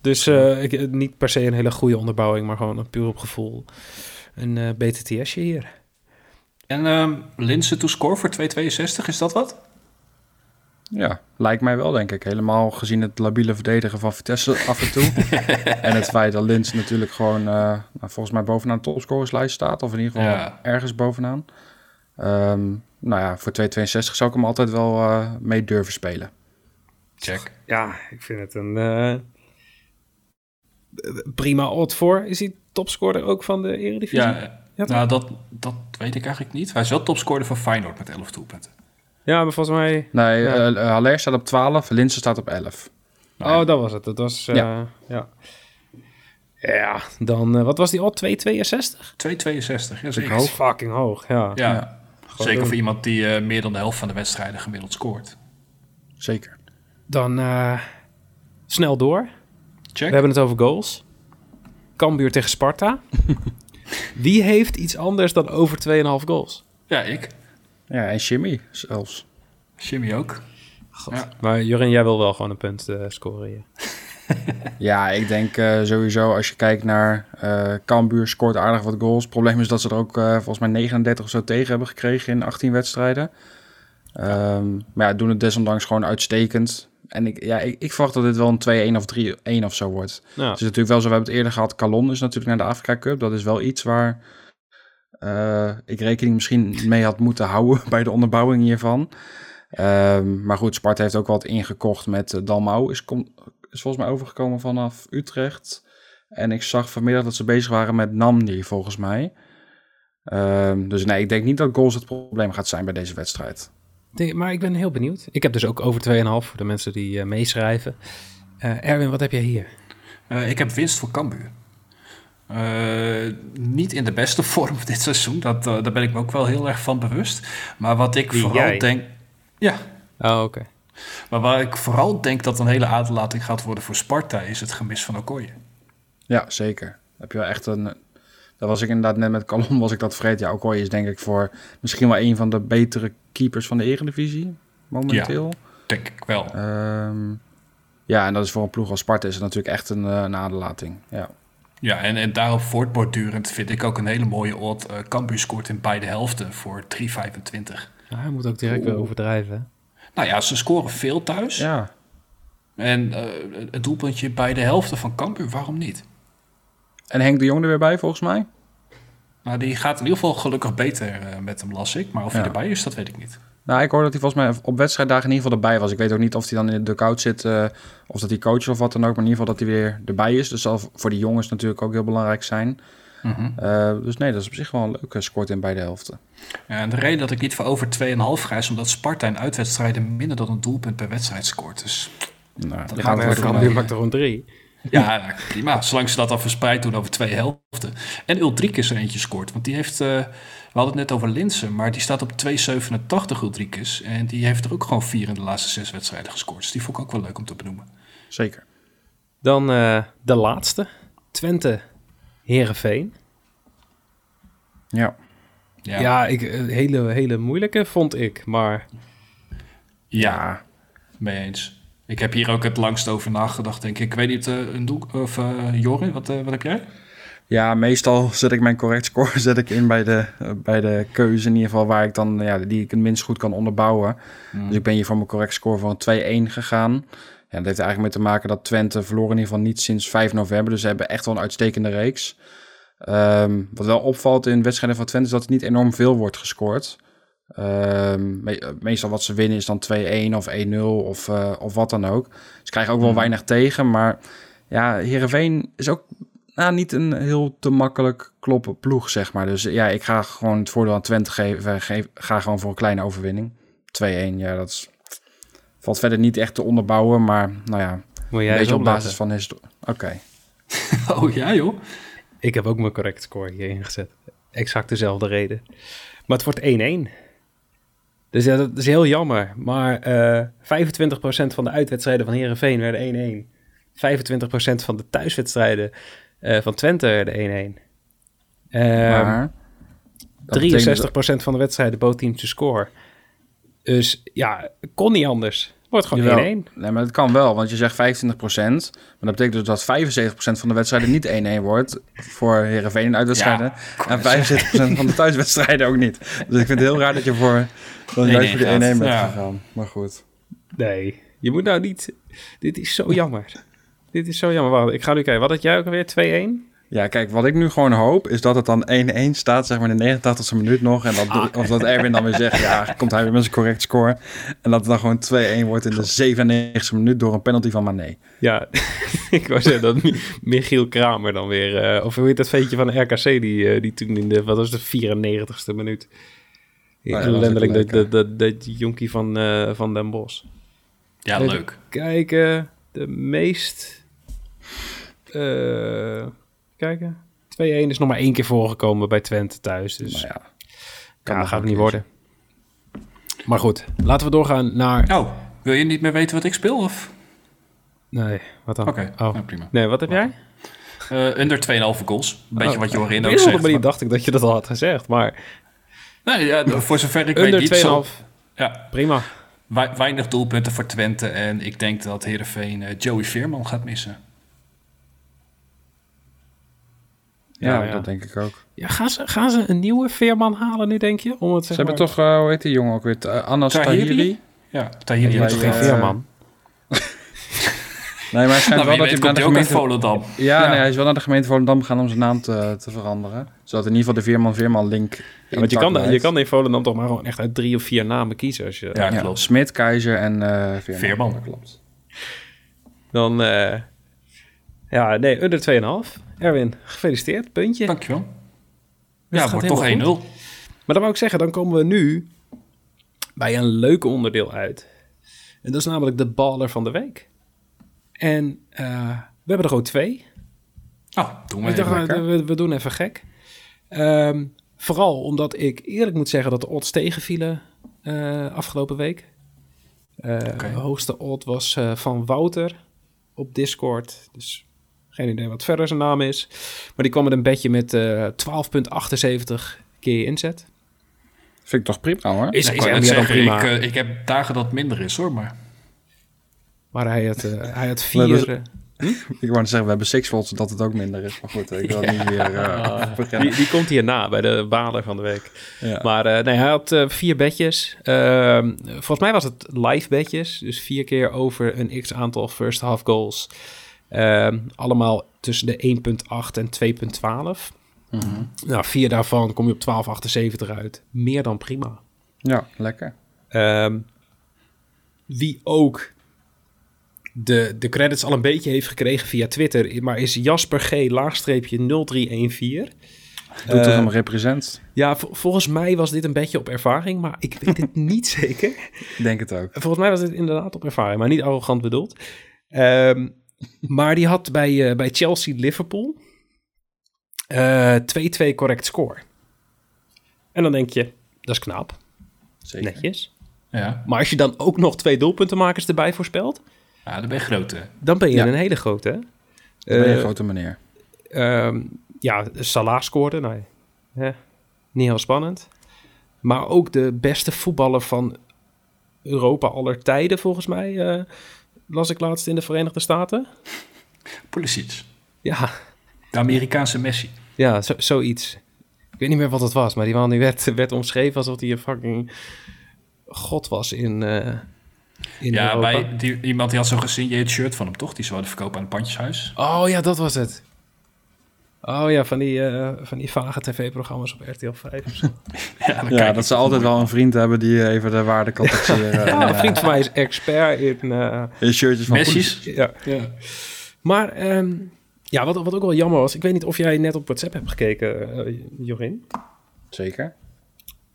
[SPEAKER 1] Dus eh, ik, eh, niet per se een hele goede onderbouwing, maar gewoon puur op gevoel. Een eh BTTSje hier.
[SPEAKER 2] En ehm Linse to score voor 2,62, is dat wat?
[SPEAKER 3] ja, lijkt mij wel denk ik. Helemaal gezien het labiele verdedigen van Vitesse af en toe. en het feit dat Lins natuurlijk gewoon eh, nou, volgens mij bovenaan de topscorerslijst staat. Of in ieder geval
[SPEAKER 2] Ja.
[SPEAKER 3] ergens bovenaan. Ehm, nou ja, voor 2,62 zou ik hem altijd wel eh, mee durven spelen.
[SPEAKER 2] Check.
[SPEAKER 1] Ja, ik vind het een eh, prima odd voor. Is hij topscorer ook van de Eredivisie?
[SPEAKER 2] Ja, eh, nou dat, dat weet ik eigenlijk niet. Hij is wel topscorer van Feyenoord met 11 doelpunten.
[SPEAKER 1] Ja, maar volgens mij...
[SPEAKER 3] Nee,
[SPEAKER 1] Ja.
[SPEAKER 3] eh, eh, Haller staat op 12, Linsen staat op 11.
[SPEAKER 2] Nou,
[SPEAKER 1] oh, dat was het. Dat was... eh, ja.
[SPEAKER 3] Ja.
[SPEAKER 1] ja. dan... eh, wat was die odd? 2,62?
[SPEAKER 2] 2,62, ja, zeker.
[SPEAKER 1] Dat is Oh, fucking hoog, ja.
[SPEAKER 2] Ja,
[SPEAKER 1] doen.
[SPEAKER 2] zeker voor iemand die eh, meer dan de helft van de wedstrijden gemiddeld scoort.
[SPEAKER 3] Zeker.
[SPEAKER 1] Dan eh, snel door.
[SPEAKER 2] Check.
[SPEAKER 1] We hebben het over goals. Cambuur tegen
[SPEAKER 2] <laughs>
[SPEAKER 1] Sparta. Wie heeft iets anders dan over 2,5 goals?
[SPEAKER 2] Ja, ik.
[SPEAKER 3] Ja, en Jimmy zelfs.
[SPEAKER 2] Jimmy ook. Ja.
[SPEAKER 1] Maar Jorin, jij wil wel gewoon een punt eh, scoren hier.
[SPEAKER 3] Ja, ik denk eh, sowieso als je kijkt naar eh Cambuur scoort aardig wat goals. Het probleem is dat ze er ook eh, volgens mij 39 of zo tegen hebben gekregen in 18 wedstrijden. Ehm, maar ja, doen het desondanks gewoon uitstekend. En ik, ja, ik, ik verwacht dat dit wel een 2-1 of 3-1 of zo wordt.
[SPEAKER 1] Nou,
[SPEAKER 3] Het is natuurlijk wel zo, we hebben het eerder gehad. Calon is natuurlijk naar de Afrika Cup. Dat is wel iets waar eh, ik rekening misschien mee had moeten houden <laughs> bij de onderbouwing hiervan. Ehm, maar goed, Sparta heeft ook wat ingekocht met eh, Dalmau. Is, kom, is volgens mij overgekomen vanaf Utrecht. En ik zag vanmiddag dat ze bezig waren met Namdi, volgens mij. Ehm, dus nee, ik denk niet dat goals het probleem gaat zijn bij deze wedstrijd.
[SPEAKER 1] Denk- Maar ik ben heel benieuwd. Ik heb dus ook over 2,5 voor de mensen die eh, meeschrijven. Eh, Erwin, wat heb jij hier?
[SPEAKER 2] Eh, ik heb winst voor Cambuur. Eh, niet in de beste <laughs> vorm dit seizoen. Dat, eh, daar ben ik me ook wel heel erg van bewust. Maar wat ik
[SPEAKER 1] Wie,
[SPEAKER 2] vooral
[SPEAKER 1] jij?
[SPEAKER 2] denk... Ja,
[SPEAKER 1] Oh, oké.
[SPEAKER 2] maar waar ik vooral denk dat een hele aderlating gaat worden voor Sparta... is het gemis van Okoye.
[SPEAKER 3] Ja, zeker. Dan Heb je wel echt een. Dat was ik inderdaad net met Calon, <laughs> was ik dat vergeten. Ja, Okoye is denk ik voor misschien wel een van de betere keepers van de Eredivisie momenteel.
[SPEAKER 2] Denk ik wel.
[SPEAKER 3] Ja, ja en dat is voor een ploeg als Sparta is het natuurlijk echt een, eh, een aderlating. Ja.
[SPEAKER 2] Ja, en, en daarop voortbordurend vind ik ook een hele mooie odd. eh Cambuur scoort in beide helften voor 3,25.
[SPEAKER 1] Nou, hij moet ook direct weer overdrijven.
[SPEAKER 2] Nou ja, ze scoren veel thuis.
[SPEAKER 3] ja,
[SPEAKER 2] En eh het doelpuntje bij de helften van Cambuur, waarom niet?
[SPEAKER 3] en Henk de Jong er weer bij volgens mij.
[SPEAKER 2] Nou, die gaat in ieder geval gelukkig beter eh, met hem, las ik. Maar of hij
[SPEAKER 3] Ja.
[SPEAKER 2] erbij is, dat weet ik niet.
[SPEAKER 3] Nou, ik hoor dat hij volgens mij op wedstrijddagen in ieder geval erbij was. Ik weet ook niet of hij dan in de dugout zit eh, of dat hij coach is of wat dan ook. Maar in ieder geval dat hij weer erbij is. Dus dat zal voor die jongens natuurlijk ook heel belangrijk zijn. Eh, dus nee, dat is op zich wel een leuke scoort in beide helften.
[SPEAKER 2] Ja, en de reden dat ik niet voor over 2,5 ga is omdat Sparta in uitwedstrijden minder dan een doelpunt per wedstrijd scoort. Dus
[SPEAKER 3] Nou,
[SPEAKER 2] gaat
[SPEAKER 3] gaat
[SPEAKER 2] het
[SPEAKER 3] het
[SPEAKER 2] wel
[SPEAKER 3] wel.
[SPEAKER 1] maakt er gewoon 3.
[SPEAKER 2] Ja, prima. Zolang ze dat dan verspreid doen over twee helften. En Ultrik is er eentje scoort. Want die heeft, eh, we hadden het net over Linsen, maar die staat op 2,87 Ultrik is. En die heeft er ook gewoon vier in de laatste zes wedstrijden gescoord. Dus die vond ik ook wel leuk om te benoemen.
[SPEAKER 3] Zeker.
[SPEAKER 1] Dan eh, de laatste. Twente, Heerenveen.
[SPEAKER 3] Ja.
[SPEAKER 1] Ja,
[SPEAKER 2] Ja, ja.
[SPEAKER 1] ik, een hele, hele moeilijke vond ik. Maar
[SPEAKER 2] mee eens. Ik heb hier ook het langst over nagedacht, denk ik. Ik weet niet, eh, een doel, of eh Jorin, wat, eh, wat heb jij? <laughs>
[SPEAKER 3] Ja, meestal zet ik mijn correct score <laughs> zet ik in bij de, eh, bij de keuze in ieder geval waar ik dan ja, die ik het minst goed kan onderbouwen. Dus ik ben hier voor mijn correct score van een 2-1 gegaan. Ja, dat heeft er eigenlijk mee te maken dat Twente verloren in ieder geval niet sinds 5 november. Dus ze hebben echt wel een uitstekende reeks. Ehm, wat wel opvalt in wedstrijden van Twente is dat er niet enorm veel wordt gescoord. Ehm, me- meestal wat ze winnen is dan 2-1 of 1-0 of, eh, of wat dan ook. Ze krijgen ook wel weinig tegen, maar ja, Heerenveen is ook nou, niet een heel te makkelijk kloppen ploeg, zeg maar. Dus ja, ik ga gewoon het voordeel aan Twente geven. Geef, ga gewoon voor een kleine overwinning. 2-1, ja, dat is, valt verder niet echt te onderbouwen, maar nou ja,
[SPEAKER 1] moet jij
[SPEAKER 3] een
[SPEAKER 1] eens
[SPEAKER 3] beetje op
[SPEAKER 1] opletten.
[SPEAKER 3] basis van historie. Oké,
[SPEAKER 2] Oh ja, joh.
[SPEAKER 1] Ik heb ook mijn correct score hierin gezet. Exact dezelfde reden. Maar het wordt 1-1. Dus ja, dat is heel jammer. Maar eh 25% van de uitwedstrijden van Herenveen werden 1-1. 25% van de thuiswedstrijden eh, van Twente werden 1-1. Ehm,
[SPEAKER 3] maar... dat
[SPEAKER 1] 63%
[SPEAKER 3] betekent
[SPEAKER 1] van de wedstrijden bood teams te score. Dus ja, kon niet anders. Wordt gewoon
[SPEAKER 3] Jawel.
[SPEAKER 1] 1-1.
[SPEAKER 3] Nee, maar dat kan wel, want je zegt 25%. Maar dat betekent dus dat 75% van de wedstrijden niet 1-1 wordt voor Herenveen in uitwedstrijden. en 75%
[SPEAKER 1] <laughs>
[SPEAKER 3] van de thuiswedstrijden ook niet. Dus ik vind het heel raar dat je voor, dan
[SPEAKER 2] 1-1
[SPEAKER 3] juist voor de 1-1
[SPEAKER 2] gaat.
[SPEAKER 3] bent
[SPEAKER 2] Ja.
[SPEAKER 3] gegaan. Maar goed.
[SPEAKER 1] Nee, je moet nou niet... Dit is zo <laughs> jammer. Dit is zo jammer. Wacht, ik ga nu kijken. Wat had jij ook alweer? 2-1?
[SPEAKER 3] Ja, kijk, wat ik nu gewoon hoop is dat het dan 1-1 staat, zeg maar in de 89e minuut nog. En
[SPEAKER 1] Ah,
[SPEAKER 3] dat, of dat Erwin dan weer zegt, ja, komt hij weer met zijn correct score. En dat het dan gewoon 2-1 wordt in de 97e minuut door een penalty van Mané.
[SPEAKER 1] Ja, <laughs> ik wou zeggen dat Mi- Michiel Kramer dan weer... eh, of hoe heet dat ventje van de RKC die, eh, die toen in de... Wat was de 94ste minuut?
[SPEAKER 3] Oh ja,
[SPEAKER 1] Ja,
[SPEAKER 3] dat was
[SPEAKER 1] Lendelijk
[SPEAKER 3] ook
[SPEAKER 1] dat,
[SPEAKER 3] leuk,
[SPEAKER 1] dat, dat, dat jonkie van, eh, van Den Bosch.
[SPEAKER 2] Ja,
[SPEAKER 1] Even
[SPEAKER 2] leuk.
[SPEAKER 1] Kijken, de meest... eh, kijken. 2-1 is nog maar één keer voorgekomen bij Twente thuis. Dus
[SPEAKER 3] Maar ja,
[SPEAKER 1] ja,
[SPEAKER 3] nog
[SPEAKER 1] gaat
[SPEAKER 3] een
[SPEAKER 1] het niet
[SPEAKER 3] keer.
[SPEAKER 1] worden. Maar goed, laten we doorgaan naar...
[SPEAKER 2] Oh, wil je niet meer weten wat ik speel? Of?
[SPEAKER 1] Nee, wat dan?
[SPEAKER 2] Oké,
[SPEAKER 1] Oh.
[SPEAKER 2] nou, prima.
[SPEAKER 1] Nee, wat heb jij?
[SPEAKER 2] Eh, under 2,5 goals. Een beetje
[SPEAKER 1] Oh.
[SPEAKER 2] wat Jorin
[SPEAKER 1] Op een
[SPEAKER 2] ook
[SPEAKER 1] of
[SPEAKER 2] zegt.
[SPEAKER 1] andere manier dacht ik dat je dat al had gezegd, maar
[SPEAKER 2] Nou ja, d- voor zover ik weet niet. Zo,
[SPEAKER 1] onder 2,5,
[SPEAKER 2] ja,
[SPEAKER 1] prima.
[SPEAKER 2] wei- weinig doelpunten voor Twente. En ik denk dat Heerenveen eh, Joey Veerman gaat missen.
[SPEAKER 3] Ja,
[SPEAKER 1] Ja, ja.
[SPEAKER 3] dat denk ik ook.
[SPEAKER 1] Ja, gaan ze, gaan ze een nieuwe Veerman halen nu, denk je? Om het,
[SPEAKER 3] Ze hebben toch, eh, hoe heet die jongen ook weer? Eh, Anas
[SPEAKER 2] Tahiri?
[SPEAKER 3] Tahiri?
[SPEAKER 2] Ja, Tahiri
[SPEAKER 3] Ja,
[SPEAKER 2] heeft
[SPEAKER 3] ja,
[SPEAKER 2] toch
[SPEAKER 1] geen
[SPEAKER 2] geen...
[SPEAKER 3] ja.
[SPEAKER 1] Veerman?
[SPEAKER 3] Nee, maar het schijnt
[SPEAKER 2] Nou,
[SPEAKER 3] wel
[SPEAKER 2] wie
[SPEAKER 3] dat hij
[SPEAKER 2] weet
[SPEAKER 3] naar
[SPEAKER 2] komt hij
[SPEAKER 3] de
[SPEAKER 2] ook uit
[SPEAKER 3] gemeente...
[SPEAKER 2] Volendam.
[SPEAKER 3] Ja, Nee, hij is wel naar de gemeente Volendam gegaan om zijn naam te, te veranderen. Zodat in ieder geval de Veerman-Veerman-link
[SPEAKER 1] Ja, want je kan, je kan in Volendam toch maar gewoon echt uit drie of vier namen kiezen. Als je,
[SPEAKER 2] Ja,
[SPEAKER 3] Ja,
[SPEAKER 2] klopt.
[SPEAKER 3] Smit, Keizer en eh, Veerman.
[SPEAKER 2] Veerman.
[SPEAKER 3] Dat klopt.
[SPEAKER 1] Dan, eh, ja, nee, onder 2,5. Erwin, gefeliciteerd, puntje.
[SPEAKER 2] Dankjewel.
[SPEAKER 1] Dus
[SPEAKER 2] Ja,
[SPEAKER 1] het
[SPEAKER 2] wordt
[SPEAKER 1] gaat
[SPEAKER 2] toch 1-0.
[SPEAKER 1] helemaal Maar dan wou ik zeggen, dan komen we nu bij een leuk onderdeel uit. En dat is namelijk de baller van de week. En eh, we hebben er gewoon twee.
[SPEAKER 2] Nou, doen we
[SPEAKER 1] Ik dacht,
[SPEAKER 2] even.
[SPEAKER 1] eh, we, we doen even gek. Ehm, vooral omdat ik eerlijk moet zeggen dat de odds tegenvielen eh, afgelopen week. Eh,
[SPEAKER 2] Oké.
[SPEAKER 1] De hoogste odd was eh, van Wouter op Discord. Dus geen idee wat verder zijn naam is. Maar die kwam met een bedje met eh 12,78 keer je inzet.
[SPEAKER 3] Vind ik toch prima, hoor.
[SPEAKER 1] Is,
[SPEAKER 2] Nou,
[SPEAKER 1] is
[SPEAKER 2] ik wou
[SPEAKER 1] ook
[SPEAKER 2] net
[SPEAKER 1] meer dan
[SPEAKER 2] zeggen,
[SPEAKER 1] prima.
[SPEAKER 2] ik, eh, ik heb dagen dat het minder is hoor, maar...
[SPEAKER 1] maar hij had, eh, hij had
[SPEAKER 3] Nee, dat is-
[SPEAKER 1] vier... eh,
[SPEAKER 3] Ik wou net zeggen, we hebben six volts, dat het ook minder is. Maar goed, ik wil niet weer... eh, beginnen.
[SPEAKER 1] die, die komt hierna bij de baler van de week.
[SPEAKER 3] Ja.
[SPEAKER 1] Maar eh, nee, hij had eh, vier bedjes. Ehm, volgens mij was het live bedjes. Dus vier keer over een x aantal first half goals. Ehm, allemaal tussen de 1,8 en 2,12.
[SPEAKER 3] Mhm.
[SPEAKER 1] Nou, vier daarvan kom je op 12,78 uit. Meer dan prima.
[SPEAKER 3] Ja, lekker.
[SPEAKER 1] Ehm, wie ook de, de credits al een beetje heeft gekregen via Twitter, maar is Jasper G. laagstreepje 0314.
[SPEAKER 3] Doet het
[SPEAKER 1] Eh,
[SPEAKER 3] hem represent.
[SPEAKER 1] Ja, vol- volgens mij was dit een beetje op ervaring, maar ik weet het <laughs> niet zeker.
[SPEAKER 3] Ik denk het ook.
[SPEAKER 1] Volgens mij was dit inderdaad op ervaring, maar niet arrogant bedoeld. Ehm, <laughs> Maar die had bij, eh, bij Chelsea-Liverpool eh, 2-2 correct score. En dan denk je, dat is knap,
[SPEAKER 3] Zeker.
[SPEAKER 1] netjes.
[SPEAKER 2] Ja.
[SPEAKER 1] Maar als je dan ook nog twee doelpuntenmakers erbij voorspelt,
[SPEAKER 2] ja, dan ben je groot, hè?
[SPEAKER 1] dan ben je
[SPEAKER 3] Ja.
[SPEAKER 1] een hele grote. hè?
[SPEAKER 3] Dan ben je
[SPEAKER 1] Eh,
[SPEAKER 3] een grote meneer.
[SPEAKER 1] Ehm, ja, Salah scoorde. Nou, hè, niet heel spannend. Maar ook de beste voetballer van Europa aller tijden, volgens mij. eh, las ik laatst in de Verenigde Staten.
[SPEAKER 2] Pulisic.
[SPEAKER 1] Ja,
[SPEAKER 2] De Amerikaanse Messi.
[SPEAKER 1] ja zo, zoiets. Ik weet niet meer wat het was, maar die man die werd, werd omschreven alsof hij een fucking god was in, eh in
[SPEAKER 2] Ja,
[SPEAKER 1] Europa.
[SPEAKER 2] bij die, iemand die had zo'n gesigneerd shirt van hem, toch? Die ze wilden verkopen aan het pandjeshuis.
[SPEAKER 1] Oh ja, dat was het. Oh ja, van die, eh, van die vage tv-programma's op RTL 5 of zo.
[SPEAKER 2] Ja, dan
[SPEAKER 3] Ja,
[SPEAKER 2] kijk
[SPEAKER 3] dat
[SPEAKER 2] ik.
[SPEAKER 3] ze altijd wel een vriend hebben die even de waarde
[SPEAKER 2] <laughs>
[SPEAKER 3] kan taxeren.
[SPEAKER 1] Ja, een vriend van mij is expert in... eh,
[SPEAKER 3] eh, In shirtjes van
[SPEAKER 2] Messi's.
[SPEAKER 1] ja.
[SPEAKER 2] Ja.
[SPEAKER 1] Maar ehm, ja, wat, wat ook wel jammer was, ik weet niet of jij net op WhatsApp hebt gekeken, eh, Jorin.
[SPEAKER 3] Zeker.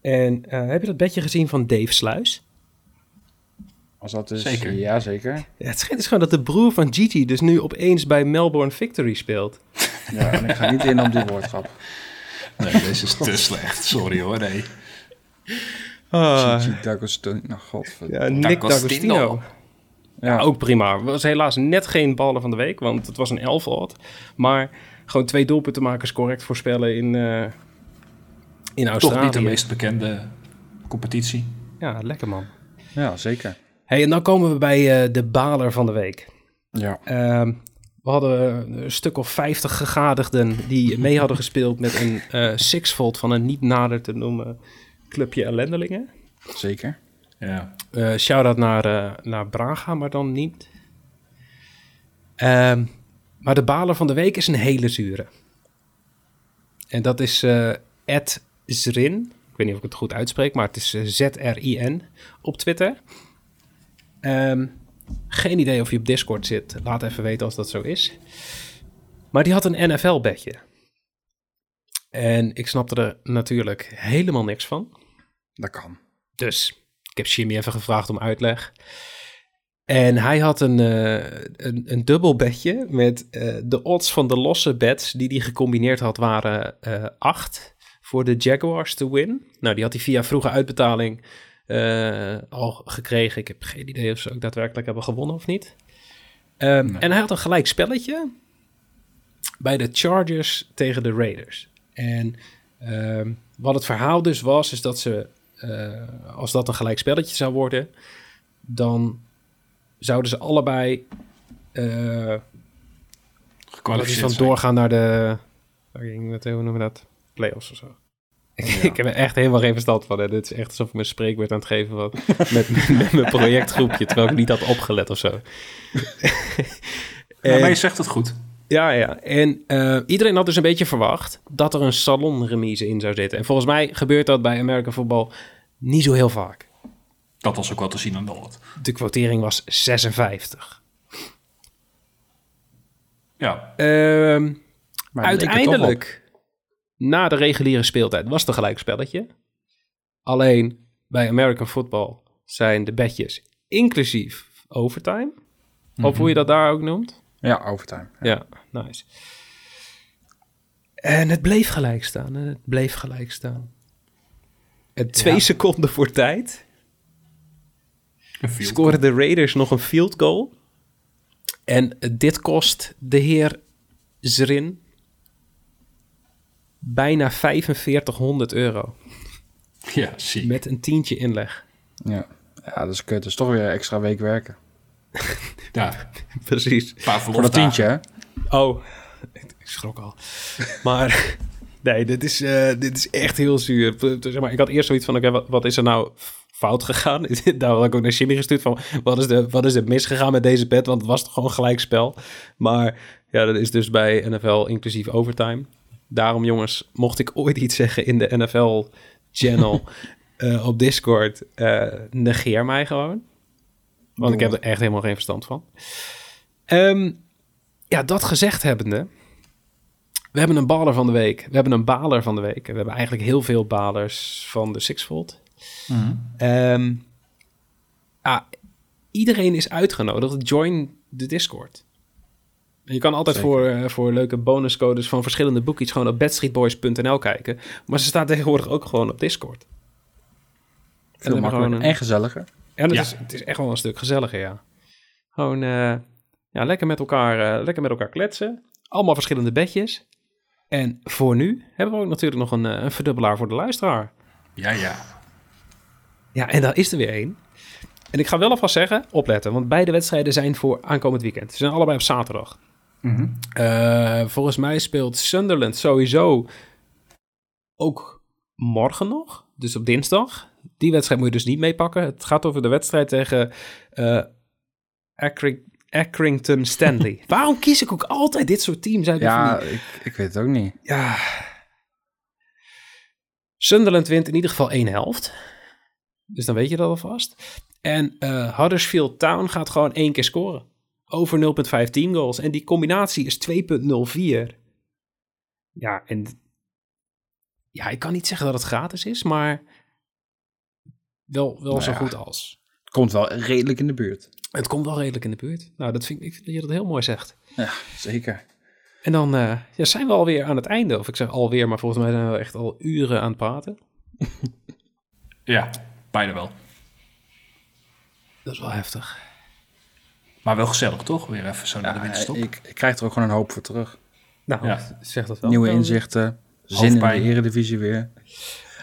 [SPEAKER 1] En eh, heb je dat bedje gezien van Dave Sluis?
[SPEAKER 3] Als dat is,
[SPEAKER 2] Zeker.
[SPEAKER 3] ja zeker.
[SPEAKER 1] Ja, het schijnt dus gewoon dat de broer van Gigi dus nu opeens bij Melbourne Victory speelt.
[SPEAKER 3] Ja, en ik ga niet in op die <laughs> woordgrap.
[SPEAKER 1] <laughs>
[SPEAKER 2] Nee, deze is te slecht. Sorry hoor, nee.
[SPEAKER 3] Gigi D'Agostino, nou godverdomme.
[SPEAKER 1] Ah, ja, Nick
[SPEAKER 2] D'Agostino.
[SPEAKER 1] D'Agostino.
[SPEAKER 3] Ja,
[SPEAKER 1] Ja, ook prima. Was helaas net geen ballen van de week, want het was een elfhot. Maar gewoon twee doelpunten maken, correct voorspellen in, eh, in Australië.
[SPEAKER 2] Toch niet de meest bekende competitie.
[SPEAKER 1] Ja, lekker man.
[SPEAKER 3] ja, zeker.
[SPEAKER 1] hey, en dan komen we bij eh, de baler van de week.
[SPEAKER 3] Ja.
[SPEAKER 1] Ehm, we hadden een stuk of 50 gegadigden die mee hadden gespeeld met een eh sixfold van een niet nader te noemen clubje ellendelingen.
[SPEAKER 3] Zeker.
[SPEAKER 2] Ja.
[SPEAKER 1] Eh shout-out naar, eh, naar Braga, maar dan niet. Ehm, maar de baler van de week is een hele zure. En dat is eh, Ed Zrin. Ik weet niet of ik het goed uitspreek, maar het is eh, Z-R-I-N op Twitter. Ehm, geen idee of je op Discord zit. Laat even weten als dat zo is. Maar die had een NFL-bedje. En ik snapte er natuurlijk helemaal niks van.
[SPEAKER 3] Dat kan.
[SPEAKER 1] Dus ik heb Jimmy even gevraagd om uitleg. En hij had een, eh een, een dubbel bedje met eh, de odds van de losse bets die hij gecombineerd had waren 8 voor de Jaguars te win. Nou, die had hij via vroege uitbetaling eh, al gekregen. Ik heb geen idee of ze ook daadwerkelijk hebben gewonnen of niet. Ehm,
[SPEAKER 2] Nee.
[SPEAKER 1] En hij had een gelijk spelletje bij de Chargers tegen de Raiders. En ehm, wat het verhaal dus was, is dat ze eh, als dat een gelijk spelletje zou worden, dan zouden ze allebei eh dat is
[SPEAKER 2] Gekwalificeerd
[SPEAKER 1] dan
[SPEAKER 2] zijn.
[SPEAKER 1] doorgaan naar de fucking, wat- hoe noemen we dat? Playoffs of <laughs> zo. Ik, ik heb er echt helemaal geen verstand van. Hè. Dit is echt alsof ik mijn spreekwoord aan het geven <laughs> was met, met, met mijn projectgroepje, terwijl ik niet had opgelet of <laughs> zo.
[SPEAKER 2] Ja,
[SPEAKER 1] En-
[SPEAKER 2] maar je zegt het goed.
[SPEAKER 1] ja, ja. En eh, iedereen had dus een beetje verwacht dat er een salonremise in zou zitten. En volgens mij gebeurt dat bij American Football niet zo heel vaak.
[SPEAKER 2] Dat was ook wel te zien aan de lot.
[SPEAKER 1] De quotering was 56.
[SPEAKER 2] Ja,
[SPEAKER 1] Ehm,
[SPEAKER 3] Maar het leek er toch op.
[SPEAKER 1] uiteindelijk, na de reguliere speeltijd, was het een gelijkspelletje. Alleen bij American Football zijn de bedjes inclusief overtime. Of hoe je dat daar ook noemt.
[SPEAKER 3] Mhm. Ja, overtime.
[SPEAKER 1] Ja, nice. En het bleef gelijk staan. En het bleef gelijk staan. En twee seconden voor tijd
[SPEAKER 2] een field.
[SPEAKER 1] scoren de Raiders nog een field goal. En dit kost de heer Zrin bijna 4500 euro.
[SPEAKER 2] Ja, zie.
[SPEAKER 1] Met een tientje inleg.
[SPEAKER 3] Ja. ja, dat is kut. Dat is toch weer extra week werken.
[SPEAKER 2] Ja,
[SPEAKER 1] Precies.
[SPEAKER 2] een paar
[SPEAKER 3] Voor dat
[SPEAKER 2] verlofdagen.
[SPEAKER 3] tientje, hè?
[SPEAKER 1] Oh, ik, ik schrok al. Maar <laughs> nee, dit is, eh, dit is echt heel zuur. P- Zeg maar, ik had eerst zoiets van, oké, wat, wat is er nou fout gegaan? <laughs> Daar had ik ook naar Jimmy gestuurd van, wat is, de, wat is er misgegaan met deze pet? Want het was toch gewoon gelijkspel. Maar ja, dat is dus bij NFL inclusief overtime. Daarom jongens, mocht ik ooit iets zeggen in de NFL channel eh, op Discord, eh, negeer mij gewoon. Want ik heb er echt helemaal geen verstand van. Ehm, ja, dat gezegd hebbende. We hebben een baler van de week. We hebben een baler van de week. En we hebben eigenlijk heel veel balers van de Sixfold.
[SPEAKER 3] Mhm.
[SPEAKER 1] Ehm, ah, iedereen is uitgenodigd. Join de Discord. En je kan altijd
[SPEAKER 3] Zeker.
[SPEAKER 1] voor, eh, voor leuke bonuscodes van verschillende boekies gewoon op bedstreetboys.nl kijken. Maar ze staat tegenwoordig ook gewoon op Discord.
[SPEAKER 3] Veel
[SPEAKER 1] hebben we
[SPEAKER 3] makkelijker
[SPEAKER 1] gewoon een-
[SPEAKER 3] en gezelliger.
[SPEAKER 1] En het,
[SPEAKER 2] Ja.
[SPEAKER 1] is, het is echt wel een stuk gezelliger, ja. Gewoon eh, ja, lekker, met elkaar, eh, lekker met elkaar kletsen. Allemaal verschillende bedjes. En voor nu hebben we ook natuurlijk nog een, eh, een verdubbelaar voor de luisteraar.
[SPEAKER 2] Ja, ja.
[SPEAKER 1] Ja, en daar is er weer één. En ik ga wel alvast zeggen, opletten, want beide wedstrijden zijn voor aankomend weekend. Ze zijn allebei op zaterdag.
[SPEAKER 2] Mhm.
[SPEAKER 1] Eh, volgens mij speelt Sunderland sowieso ook morgen nog, dus op dinsdag. Die wedstrijd moet je dus niet meepakken. Het gaat over de wedstrijd tegen eh Accring- Accrington Stanley. Waarom kies ik ook altijd dit soort teams uit? de
[SPEAKER 3] Ja,
[SPEAKER 1] familie?
[SPEAKER 3] ik, ik weet het ook niet.
[SPEAKER 1] ja. Sunderland wint in ieder geval één helft. Dus dan weet je dat alvast. En eh, Huddersfield Town gaat gewoon één keer scoren. Over 0,5 goals. En die combinatie is 2,04. Ja, en... Ja, ik kan niet zeggen dat het gratis is, maar... Wel, wel
[SPEAKER 3] Nou
[SPEAKER 1] zo
[SPEAKER 3] ja.
[SPEAKER 1] goed als.
[SPEAKER 3] Het komt wel redelijk in de buurt.
[SPEAKER 1] Het komt wel redelijk in de buurt. Nou, dat vind ik, ik vind dat je dat heel mooi zegt.
[SPEAKER 3] Ja, zeker.
[SPEAKER 1] En dan eh, ja, zijn we alweer aan het einde. Of ik zeg alweer, maar volgens mij zijn we echt al uren aan het praten.
[SPEAKER 2] Ja, bijna wel.
[SPEAKER 1] Dat is wel heftig.
[SPEAKER 2] Maar wel gezellig, toch? Weer even zo naar de
[SPEAKER 3] Ja,
[SPEAKER 2] winterstop.
[SPEAKER 3] ik, ik krijg er ook gewoon een hoop voor terug.
[SPEAKER 1] Nou,
[SPEAKER 2] Ja.
[SPEAKER 1] zeg dat wel.
[SPEAKER 3] Nieuwe
[SPEAKER 1] Dan-
[SPEAKER 3] inzichten, zin
[SPEAKER 2] Hoofdpijn.
[SPEAKER 3] in de eredivisie weer.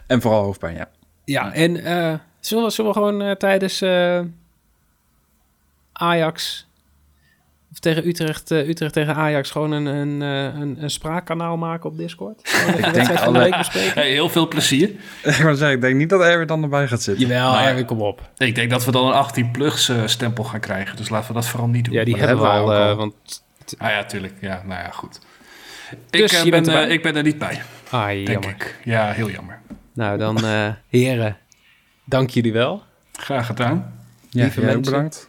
[SPEAKER 3] En vooral hoofdpijn, ja.
[SPEAKER 1] Ja, en eh, zullen, we, zullen we gewoon eh, tijdens eh, Ajax of tegen Utrecht, eh, Utrecht tegen Ajax gewoon een, een, eh, een, een spraakkanaal maken op Discord? Gewoon even de wedstrijd van de
[SPEAKER 3] alle-
[SPEAKER 1] week bespreken.
[SPEAKER 2] Hey, heel veel plezier.
[SPEAKER 3] <laughs> Ik wou zeggen, ik denk niet dat Erwin dan erbij gaat zitten.
[SPEAKER 1] Jawel,
[SPEAKER 2] Maar-
[SPEAKER 1] Erwin, kom op.
[SPEAKER 2] Ik denk dat we dan een 18-plugs eh, stempel gaan krijgen. Dus laten we dat vooral niet doen.
[SPEAKER 1] Ja, die
[SPEAKER 3] Maar dat
[SPEAKER 1] hebben we
[SPEAKER 3] hebben
[SPEAKER 1] al,
[SPEAKER 3] we ook
[SPEAKER 1] eh,
[SPEAKER 3] al.
[SPEAKER 1] want...
[SPEAKER 2] Ah ja, tuurlijk. Ja, nou ja, goed. Ik,
[SPEAKER 1] Dus
[SPEAKER 2] eh,
[SPEAKER 1] je bent
[SPEAKER 2] ben, eh,
[SPEAKER 1] erbij?
[SPEAKER 2] ik ben er niet bij,
[SPEAKER 1] Ah,
[SPEAKER 2] denk
[SPEAKER 1] jammer.
[SPEAKER 2] ik. Ja, heel jammer.
[SPEAKER 1] Nou, dan eh, heren, dank jullie wel.
[SPEAKER 2] Graag gedaan.
[SPEAKER 3] Ja,
[SPEAKER 1] Lieve
[SPEAKER 3] jij ook
[SPEAKER 1] mensen.
[SPEAKER 3] bedankt.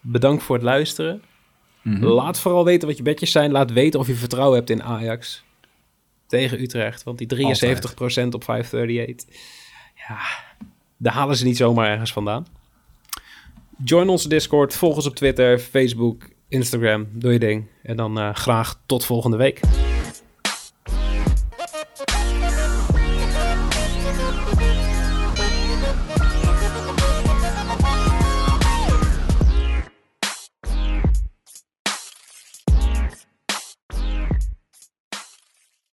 [SPEAKER 1] Bedankt voor het luisteren.
[SPEAKER 2] Mhm.
[SPEAKER 1] Laat vooral weten wat je bedjes zijn. Laat weten of je vertrouwen hebt in Ajax tegen Utrecht. Want die 73% op 538, ja, daar halen ze niet zomaar ergens vandaan. Join onze Discord, volg ons op Twitter, Facebook, Instagram. Doe je ding. En dan eh, graag tot volgende week.